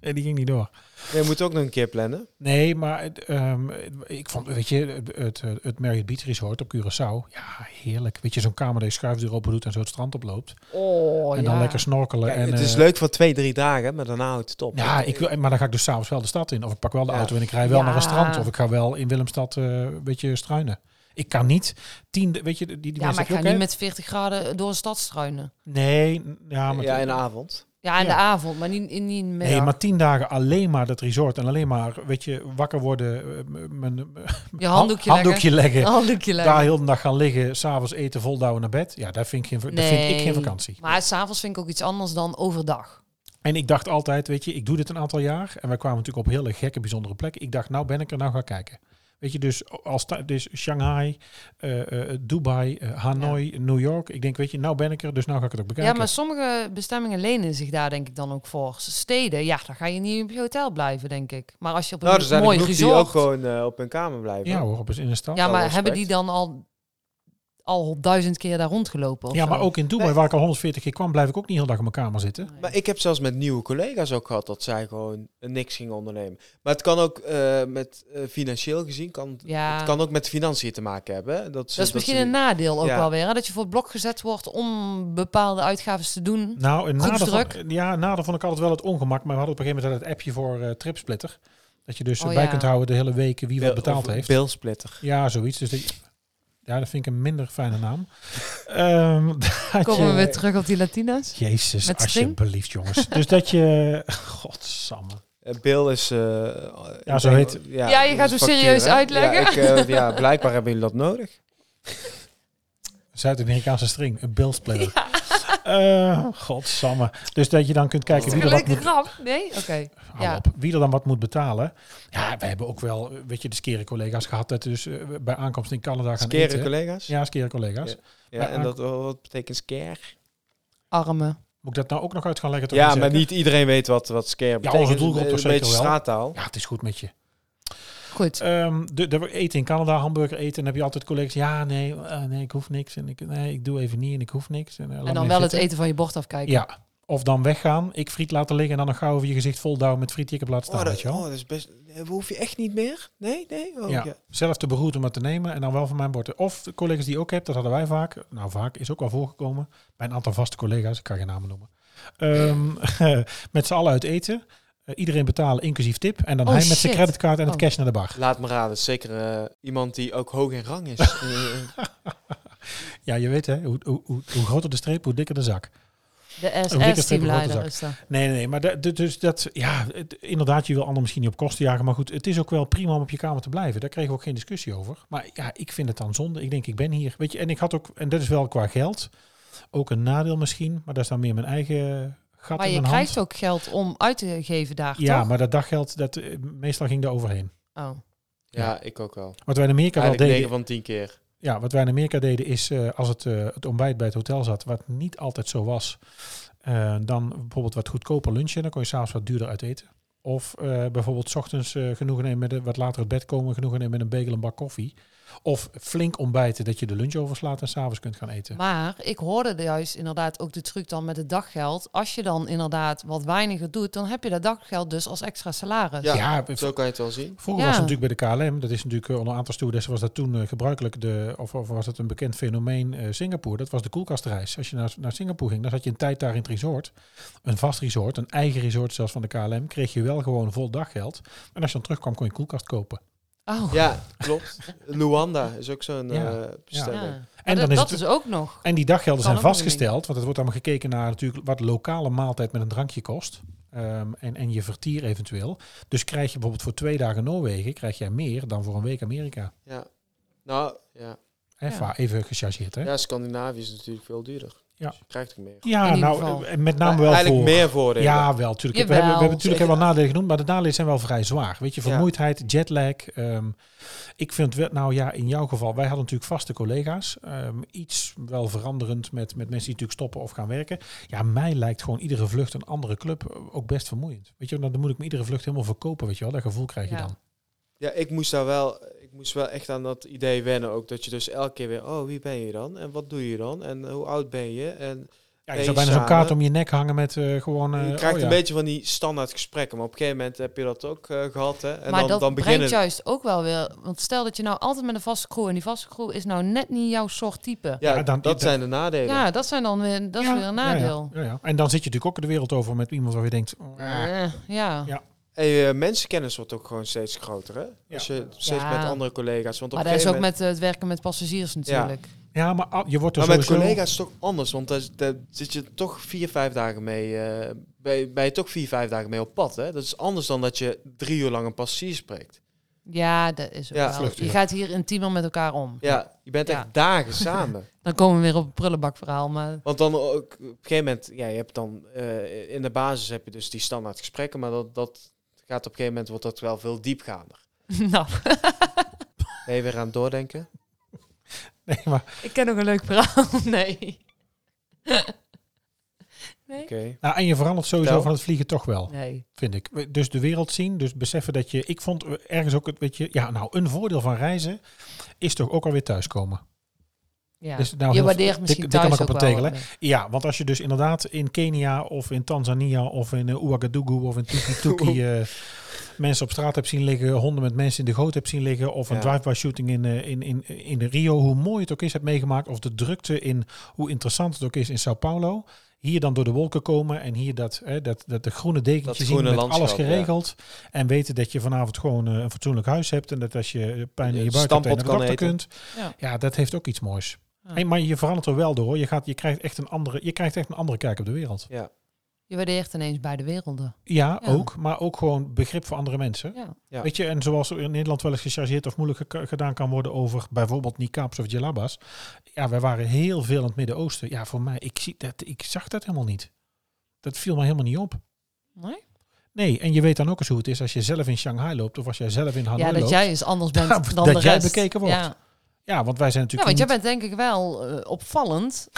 Speaker 2: Nee, die ging niet door.
Speaker 4: Nee, we moeten ook nog een keer plannen.
Speaker 2: Nee, maar het, ehm, ik vond, weet je, het, het, het Marriott Beach Resort op Curaçao. Ja, heerlijk. Weet je, zo'n kamer dat je schuifdeur open doet en zo het strand oploopt.
Speaker 3: Oh,
Speaker 2: en dan lekker snorkelen.
Speaker 4: Kijk,
Speaker 2: en,
Speaker 4: het is
Speaker 2: eh,
Speaker 4: leuk voor twee, drie dagen, maar daarna houdt het op.
Speaker 2: Ja, ik wil, maar dan ga ik dus s'avonds wel de stad in. Of ik pak wel de
Speaker 4: Ja.
Speaker 2: auto en ik rij wel
Speaker 3: Ja.
Speaker 2: naar een strand. Of ik ga wel in Willemstad eh, een beetje struinen. Ik kan niet tien, weet je, die, die
Speaker 3: Ja,
Speaker 2: mensen
Speaker 3: maar ik
Speaker 2: heb
Speaker 3: ga
Speaker 2: je ook,
Speaker 3: niet met 40 graden door een stad struinen.
Speaker 2: hè? Nee, n- ja, maar,
Speaker 4: ja, in de avond.
Speaker 3: Ja, in
Speaker 2: Ja.
Speaker 3: de avond, maar niet in die middag.
Speaker 2: nee, maar tien dagen alleen maar dat resort. En alleen maar, weet je, wakker worden. eh, m- mijn
Speaker 3: je handdoekje,
Speaker 2: handdoekje leggen.
Speaker 3: leggen. Handdoekje leggen.
Speaker 2: Daar heel de dag gaan liggen. S'avonds eten, voldouwen naar bed. Ja, daar vind ik geen, dat vind ik
Speaker 3: Nee.
Speaker 2: geen vakantie.
Speaker 3: Maar s'avonds vind ik ook iets anders dan overdag.
Speaker 2: En ik dacht altijd, weet je, ik doe dit een aantal jaar. En wij kwamen natuurlijk op hele gekke, bijzondere plekken. Ik dacht, nou ben ik er, nou ga ik kijken. Weet je, dus, als ta- dus Shanghai, eh, eh, Dubai, eh, Hanoi, New York. Ik denk, weet je, nou ben ik er, dus nou ga ik het ook bekijken.
Speaker 3: Ja, maar sommige bestemmingen lenen zich daar denk ik dan ook voor. Steden, ja, dan ga je niet op je hotel blijven, denk ik. Maar als je op een
Speaker 4: Nou, er zijn er
Speaker 3: mooi
Speaker 4: genoeg die ook
Speaker 3: resort...
Speaker 4: gewoon eh, op hun kamer blijven.
Speaker 2: Ja hoor, op, in een stad. Ja,
Speaker 3: ja, maar
Speaker 4: wel
Speaker 3: hebben
Speaker 4: respect.
Speaker 3: die dan al, al duizend keer daar rondgelopen? of
Speaker 2: maar
Speaker 3: zo?
Speaker 2: ook in Dubai,
Speaker 4: Nee.
Speaker 2: waar ik al 140 keer kwam, blijf ik ook niet heel dag in mijn kamer zitten.
Speaker 3: Nee.
Speaker 4: Maar ik heb zelfs met nieuwe collega's ook gehad dat zij gewoon eh, niks gingen ondernemen. Maar het kan ook eh, met eh, financieel gezien, kan,
Speaker 3: Ja.
Speaker 4: het kan ook met financiën te maken hebben. hè. Dat, ze-
Speaker 3: Dat is
Speaker 4: dat ze
Speaker 3: misschien
Speaker 4: die-
Speaker 3: een nadeel ook
Speaker 4: Ja.
Speaker 3: wel weer. Hè? Dat je voor het blok gezet wordt om bepaalde uitgaven te doen.
Speaker 2: Nou, een nadeel van,
Speaker 3: Groepsdruk.
Speaker 2: ja, een nadeel vond ik altijd wel het ongemak. Maar we hadden op een gegeven moment het appje voor eh, Tripsplitter. Dat je dus
Speaker 3: Oh,
Speaker 2: bij
Speaker 3: ja.
Speaker 2: kunt houden de hele week wie wat
Speaker 4: Of
Speaker 2: betaald heeft.
Speaker 4: Bilsplitter.
Speaker 2: Ja, zoiets. Dus dat, ja, dat vind ik een minder fijne naam. Ehm, dat
Speaker 3: Komen we
Speaker 2: je-
Speaker 3: weer terug op die Latina's?
Speaker 2: Jezus,
Speaker 3: met string?
Speaker 2: alsjeblieft, jongens. Dus dat je... Godsamme.
Speaker 4: Eh, Bill is... eh,
Speaker 2: Ja, zo
Speaker 4: ik denk-
Speaker 2: heet-
Speaker 3: Ja, je gaat
Speaker 4: dat is
Speaker 3: hem
Speaker 4: factuur,
Speaker 3: serieus
Speaker 4: hè?
Speaker 3: uitleggen.
Speaker 4: Ja, ik, eh, ja, blijkbaar hebben jullie dat nodig.
Speaker 2: Zuid-Amerikaanse string, een bilsplitter. Eh, godsamme. Dus dat je dan kunt kijken wie er wat
Speaker 3: Gelukkig
Speaker 2: moet,
Speaker 3: grap. Nee? Oké.
Speaker 2: hou
Speaker 3: Ja.
Speaker 2: op, wie er dan wat moet betalen. Ja, we hebben ook wel, eh, weet je, de skere collega's gehad. Dat dus eh, bij aankomst in Canada gaan
Speaker 4: Skere
Speaker 2: eten.
Speaker 4: collega's?
Speaker 2: Ja, skere collega's.
Speaker 4: Ja,
Speaker 2: Maar
Speaker 4: en dat, oh, wat betekent scare?
Speaker 3: Armen.
Speaker 2: Moet ik dat nou ook nog uit gaan leggen? tot
Speaker 4: Ja,
Speaker 2: ik
Speaker 4: maar
Speaker 2: zeker-
Speaker 4: niet iedereen weet wat, wat scare betekent.
Speaker 2: onze doelgroep
Speaker 4: een
Speaker 2: toch
Speaker 4: beetje
Speaker 2: zeker wel.
Speaker 4: straattaal.
Speaker 2: Ja, het is goed met je.
Speaker 3: Goed.
Speaker 2: Ehm, de, de, eten in Canada, hamburger eten. En dan heb je altijd collega's. Ja, nee, eh, nee ik hoef niks. En ik, nee, ik doe even niet en ik hoef niks. En, eh, laat
Speaker 3: en
Speaker 2: mij
Speaker 3: dan wel het
Speaker 2: zitten.
Speaker 3: eten van je bord afkijken.
Speaker 2: Ja. Of dan weggaan, ik friet laten liggen en dan nog gauw over je gezicht voldouwen met friet die ik heb laten staan.
Speaker 4: Oh,
Speaker 2: weet
Speaker 4: dat,
Speaker 2: je wel.
Speaker 4: oh, dat is best... eh, Hoef je echt niet meer? Nee, nee? Oh,
Speaker 2: ja.
Speaker 4: ja.
Speaker 2: Zelf te beroerd om het te nemen en dan wel van mijn bord. Of de collega's die je ook hebt, dat hadden wij vaak. Nou, vaak is ook wel voorgekomen. Bij een aantal vaste collega's, ik kan geen namen noemen. Ehm, met z'n allen uit eten. Eh, iedereen betalen, inclusief tip. En dan
Speaker 3: Oh,
Speaker 2: hij met zijn
Speaker 3: shit.
Speaker 2: creditcard en het
Speaker 3: Oh.
Speaker 2: cash naar de bar.
Speaker 4: Laat me raden, zeker eh, iemand die ook hoog in rang is. Eh,
Speaker 2: Ja, je weet hè, hoe, hoe, hoe, hoe groter de streep, hoe dikker de zak.
Speaker 3: De
Speaker 2: dikke
Speaker 3: SS-teamleider
Speaker 2: stippengrote
Speaker 3: is dat.
Speaker 2: Nee, nee, nee, maar dat, dat- dus dat, ja, het- inderdaad, je wil anderen misschien niet op kosten jagen. Maar goed, het is ook wel prima om op je kamer te blijven. Daar kregen we ook geen discussie over. Maar ja, ik vind het dan zonde. Ik denk, ik ben hier. Weet je, en ik had ook, en dat is wel qua geld, ook een nadeel misschien. Maar dat is dan meer mijn eigen gat
Speaker 3: Maar
Speaker 2: in
Speaker 3: je
Speaker 2: mijn hand.
Speaker 3: krijgt ook geld om uit te geven daar,
Speaker 2: ja,
Speaker 3: toch?
Speaker 2: maar dat daggeld, dat, eh, meestal ging daar overheen.
Speaker 3: Oh.
Speaker 4: ja, ik ook wel.
Speaker 2: Wat wij in Amerika wel
Speaker 4: Eigenlijk
Speaker 2: deden,
Speaker 4: 9 van 10 keer.
Speaker 2: ja, wat wij in Amerika deden is, eh, als het, eh, het ontbijt bij het hotel zat, wat niet altijd zo was, eh, dan bijvoorbeeld wat goedkoper lunchen, dan kon je s'avonds wat duurder uit eten. Of eh, bijvoorbeeld 's ochtends eh, genoegen nemen met een, wat later uit bed komen, genoegen nemen met een bagel en bak koffie. Of flink ontbijten, dat je de lunch overslaat en s'avonds kunt gaan eten.
Speaker 3: Maar ik hoorde juist inderdaad ook de truc dan met het daggeld. Als je dan inderdaad wat weiniger doet, dan heb je dat daggeld dus als extra salaris.
Speaker 4: Ja.
Speaker 2: we-
Speaker 4: Zo kan je het wel zien.
Speaker 2: Vroeger
Speaker 3: Ja.
Speaker 2: was het natuurlijk bij de KLM, dat is natuurlijk eh, onder een aantal stewardessen was dat toen eh, gebruikelijk, de, of, of was dat een bekend fenomeen, eh, Singapore, dat was de koelkastreis. Als je naar, naar Singapore ging, dan zat je een tijd daar in het resort, een vast resort, een eigen resort zelfs van de KLM, kreeg je wel gewoon vol daggeld. En als je dan terugkwam, kon je een koelkast kopen.
Speaker 3: Oh.
Speaker 4: Ja, klopt. Luanda is ook zo'n
Speaker 2: Ja.
Speaker 4: eh
Speaker 3: Ja.
Speaker 4: bestemming.
Speaker 2: dan
Speaker 3: En dat,
Speaker 2: is
Speaker 3: dat
Speaker 2: het-
Speaker 3: is ook nog.
Speaker 2: En die daggelden
Speaker 3: Kan
Speaker 2: zijn
Speaker 3: ook nog
Speaker 2: vastgesteld, want het wordt allemaal gekeken naar natuurlijk wat lokale maaltijd met een drankje kost. ehm, en, en je vertier eventueel. Dus krijg je bijvoorbeeld voor twee dagen Noorwegen, krijg jij meer dan voor een week Amerika.
Speaker 4: Ja. Nou, ja.
Speaker 2: Hè,
Speaker 3: Ja.
Speaker 2: va- Even gechargeerd, hè?
Speaker 4: ja, Scandinavië is natuurlijk veel duurder.
Speaker 2: Ja.
Speaker 4: Dus je krijgt er meer.
Speaker 2: Ja,
Speaker 3: In ieder
Speaker 2: nou,
Speaker 3: geval.
Speaker 2: eh, met name wel
Speaker 4: Eigenlijk
Speaker 2: voor...
Speaker 4: meer voordelen.
Speaker 2: Ja, wel, natuurlijk. We
Speaker 3: Jawel,
Speaker 2: hebben, we hebben natuurlijk
Speaker 4: zeker.
Speaker 2: wel nadelen genoemd, maar de nadelen zijn wel vrij zwaar. Weet je,
Speaker 4: Ja.
Speaker 2: vermoeidheid, jetlag. ehm, ik vind wel, nou ja, in jouw geval, wij hadden natuurlijk vaste collega's. ehm, iets wel veranderend met, met mensen die natuurlijk stoppen of gaan werken. Ja, mij lijkt gewoon iedere vlucht een andere club eh, ook best vermoeiend. Weet je, nou, dan moet ik me iedere vlucht helemaal verkopen, weet je wel. Dat gevoel krijg je
Speaker 3: Ja.
Speaker 2: dan.
Speaker 4: Ja, ik moest daar wel, ik moest wel echt aan dat idee wennen ook. Dat je dus elke keer weer, oh, wie ben je dan? En wat doe je dan? En eh, hoe oud ben je? En
Speaker 2: Ja, je
Speaker 4: Nee,
Speaker 2: zou bijna zo'n
Speaker 4: samen.
Speaker 2: kaart om je nek hangen met eh, gewoon... eh,
Speaker 4: je krijgt
Speaker 2: oh
Speaker 4: een
Speaker 2: ja.
Speaker 4: beetje van die standaard gesprekken. Maar op een gegeven moment heb je dat ook eh, gehad. Hè? En
Speaker 3: maar
Speaker 4: dan,
Speaker 3: dat
Speaker 4: dan
Speaker 3: brengt
Speaker 4: beginnen...
Speaker 3: juist ook wel weer. Want stel dat je nou altijd met een vaste crew en die vaste crew is nou net niet jouw soort type. Ja,
Speaker 4: Ja,
Speaker 2: Ja, dan-
Speaker 4: dat
Speaker 2: dat-
Speaker 4: zijn de nadelen.
Speaker 3: dat zijn dan weer, dat
Speaker 2: Ja,
Speaker 3: is weer een
Speaker 2: ja, ja,
Speaker 3: nadeel.
Speaker 2: Ja, ja. En dan zit je natuurlijk ook de wereld over met iemand waar je denkt... "Ah,
Speaker 3: Eh, Ja,
Speaker 2: Ja.
Speaker 4: En je mensenkennis wordt ook gewoon steeds groter. Hè? Als je steeds
Speaker 3: Ja.
Speaker 4: met andere collega's... Want op
Speaker 3: maar
Speaker 4: een
Speaker 3: dat is
Speaker 4: gegeven
Speaker 3: ook
Speaker 4: moment...
Speaker 3: met eh, het werken met passagiers natuurlijk.
Speaker 2: Ja, maar al- je wordt er
Speaker 4: Maar met
Speaker 2: sowieso...
Speaker 4: collega's is het toch anders, want daar, daar zit je toch vier, vijf dagen mee. eh ben, ben je toch vier, vijf dagen mee op pad. Hè? Dat is anders dan dat je drie uur lang een passagier spreekt.
Speaker 3: Ja, dat is ook
Speaker 4: Ja.
Speaker 3: wel.
Speaker 2: Vluchten,
Speaker 3: Je
Speaker 2: ja.
Speaker 3: gaat hier intiemer met elkaar om.
Speaker 4: Ja, je bent
Speaker 3: Ja.
Speaker 4: echt dagen samen.
Speaker 3: Dan komen we weer op het prullenbakverhaal. Maar
Speaker 4: Want dan ook, op een gegeven moment, ja, je hebt dan eh, in de basis heb je dus die standaard gesprekken, maar dat, dat gaat op een gegeven moment wordt dat wel veel diepgaander.
Speaker 3: nou,
Speaker 4: Ben je weer aan het doordenken?
Speaker 2: Nee, maar,
Speaker 3: ik ken nog een leuk verhaal. Nee.
Speaker 4: Oké.
Speaker 2: nou, en je verandert sowieso
Speaker 4: Vertel.
Speaker 2: van het vliegen toch wel,
Speaker 3: Nee.
Speaker 2: vind ik. We- Dus de wereld zien, dus beseffen dat je... Ik vond ergens ook het, weet je... Ja, nou, een voordeel van reizen is toch ook alweer thuiskomen.
Speaker 3: Ja.
Speaker 2: Dus nou
Speaker 3: je
Speaker 2: heel-
Speaker 3: waardeert
Speaker 2: dit-
Speaker 3: misschien
Speaker 2: dit kan
Speaker 3: thuis
Speaker 2: ik op
Speaker 3: ook
Speaker 2: het
Speaker 3: wel.
Speaker 2: tegelen,
Speaker 3: wat
Speaker 2: Ja, want als je dus inderdaad in Kenia of in Tanzania of in eh, Ouagadougou of in Tukituki... eh, mensen op straat hebt zien liggen, honden met mensen in de goot hebt zien liggen... of een
Speaker 4: Ja.
Speaker 2: drive-by shooting in, eh, in, in, in Rio, hoe mooi het ook is, hebt meegemaakt... of de drukte in hoe interessant het ook is in Sao Paulo. Hier dan door de wolken komen en hier dat, hè, dat, dat de groene dekentje
Speaker 4: Dat
Speaker 2: zien
Speaker 4: groene
Speaker 2: met
Speaker 4: landschap,
Speaker 2: alles geregeld. En weten dat je vanavond gewoon eh, een fatsoenlijk huis hebt. En dat als je eh, pijn in
Speaker 4: Je
Speaker 2: je buik hebt, dat je naar de
Speaker 4: stamppot
Speaker 2: dokter
Speaker 4: kan
Speaker 2: kunt. Ja.
Speaker 3: Ja.
Speaker 2: dat heeft ook iets moois.
Speaker 3: Ja.
Speaker 2: Hey, maar je verandert er wel door. hoor. Je, gaat, je, krijgt echt een andere, je krijgt echt een andere kijk op de wereld.
Speaker 4: Ja.
Speaker 3: Je waardeert ineens beide werelden.
Speaker 2: Ja,
Speaker 3: Ja.
Speaker 2: ook. Maar ook gewoon begrip voor andere mensen.
Speaker 3: Ja.
Speaker 4: Ja.
Speaker 2: Weet je, en zoals er in Nederland wel eens gechargeerd of moeilijk geka- gedaan kan worden over bijvoorbeeld niqabs of jalabas. Ja, wij waren heel veel in het Midden-Oosten. Ja, voor mij, ik, zie dat, ik zag dat helemaal niet. Dat viel mij helemaal niet op.
Speaker 3: Nee?
Speaker 2: Nee, en je weet dan ook eens hoe het is als je zelf in Shanghai loopt of als jij zelf in Hanoi
Speaker 3: ja, dat
Speaker 2: loopt.
Speaker 3: jij eens anders bent
Speaker 2: Dat-
Speaker 3: dan
Speaker 2: dat
Speaker 3: de
Speaker 2: jij
Speaker 3: rest.
Speaker 2: bekeken wordt.
Speaker 3: Ja.
Speaker 2: Ja, want wij zijn
Speaker 3: Ja,
Speaker 2: natuurlijk.
Speaker 3: want jij
Speaker 2: niet-
Speaker 3: bent denk ik wel eh, opvallend.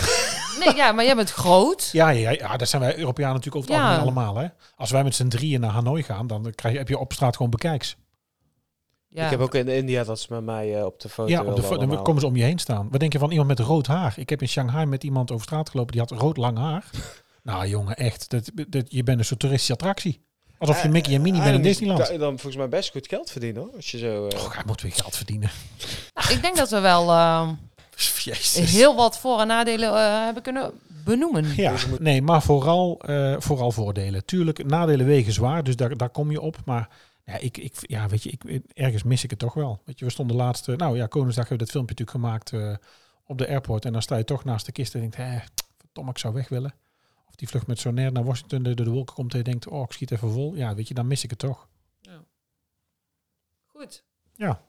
Speaker 3: nee, ja, maar jij bent groot.
Speaker 2: ja, ja, ja, dat zijn wij Europeanen natuurlijk over het
Speaker 3: Ja.
Speaker 2: algemeen allemaal. Hè? Als wij met z'n drieën naar Hanoi gaan, dan krijg je, heb je op straat gewoon
Speaker 4: Oh,
Speaker 2: bekijks.
Speaker 3: Ja.
Speaker 4: Ik heb ook in India dat ze met mij eh, op de foto
Speaker 2: Ja, op de
Speaker 4: wilden
Speaker 2: fo- dan
Speaker 4: allemaal.
Speaker 2: komen ze om je heen staan. Wat denk je van iemand met rood haar? Ik heb in Shanghai met iemand over straat gelopen die had rood lang haar. nou jongen, echt. Dat, dat, je bent een soort toeristische attractie. Alsof je
Speaker 4: Eh,
Speaker 2: Mickey en Minnie
Speaker 4: ah,
Speaker 2: bent in
Speaker 4: dan-
Speaker 2: Disneyland.
Speaker 4: kan je Dan volgens mij best goed geld verdienen hoor. Als je zo.
Speaker 3: Oh.
Speaker 4: eh,
Speaker 2: Och, hij moet weer geld verdienen.
Speaker 3: Nou, ik denk dat we wel eh,
Speaker 2: Jezus.
Speaker 3: heel wat voor- en nadelen eh, hebben kunnen benoemen.
Speaker 2: Ja,
Speaker 4: Deze moet-
Speaker 2: nee, maar vooral, eh, vooral voordelen. Tuurlijk, nadelen wegen zwaar, dus daar, daar kom je op. Maar ja, ik, ik, ja, weet je, ik, ergens mis ik het toch wel. Weet je, we stonden laatst, eh, nou ja, Koningsdag hebben we dat filmpje natuurlijk gemaakt eh, op de airport. En dan sta je toch naast de kist en denkt, hé, verdomme, ik zou weg willen. Of die vlucht met Sonair naar Washington door de wolken komt en je denkt, oh, ik schiet even vol. Ja, weet je, dan mis ik het toch.
Speaker 3: Goed.
Speaker 2: Ja.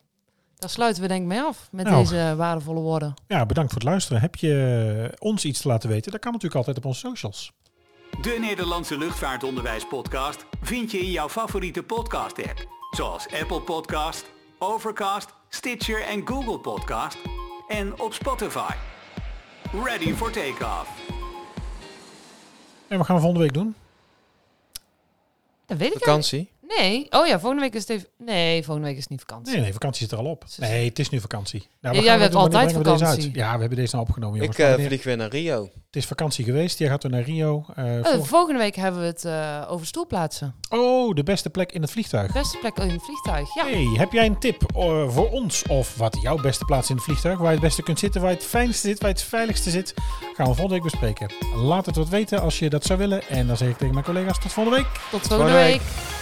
Speaker 3: Daar sluiten we denk ik mee af met
Speaker 2: Nou.
Speaker 3: deze waardevolle woorden.
Speaker 2: Ja, bedankt voor het luisteren. Heb je eh, ons iets te laten weten? Dat kan natuurlijk altijd op onze socials.
Speaker 1: De Nederlandse Luchtvaartonderwijspodcast vind je in jouw favoriete podcast-app. Zoals Apple Podcast, Overcast, Stitcher en Google Podcast. En op Spotify. Ready for takeoff.
Speaker 2: En wat gaan we volgende week doen?
Speaker 3: Dat weet ik
Speaker 4: Vakantie.
Speaker 3: eigenlijk- Nee. Oh ja, volgende week is het even... Nee, volgende week is het niet vakantie.
Speaker 2: Nee, nee, vakantie zit er al op. Nee, het is nu vakantie. Nou, wat
Speaker 3: Ja,
Speaker 2: gaan
Speaker 3: jij hebt
Speaker 2: doen? Wanneer
Speaker 3: altijd
Speaker 2: brengen we deze
Speaker 3: vakantie.
Speaker 2: uit? Ja, we hebben deze nou opgenomen, jongens.
Speaker 4: Ik eh,
Speaker 2: Maar wanneer-
Speaker 4: vlieg weer naar Rio.
Speaker 2: Het is vakantie geweest. Jij gaat weer naar Rio. eh,
Speaker 3: Eh,
Speaker 2: voor-
Speaker 3: volgende week hebben we het eh, over stoelplaatsen.
Speaker 2: Oh, de beste plek in het vliegtuig.
Speaker 3: Beste plek in het vliegtuig. Ja.
Speaker 2: Hey, heb jij een tip eh, voor ons of wat jouw beste plaats in het vliegtuig, waar je het beste kunt zitten, waar je het fijnste zit, waar je het veiligste zit, gaan we volgende week bespreken. Laat het wat weten als je dat zou willen. En dan zeg ik tegen mijn collega's tot volgende week.
Speaker 3: Tot volgende
Speaker 4: volgende week.
Speaker 3: week.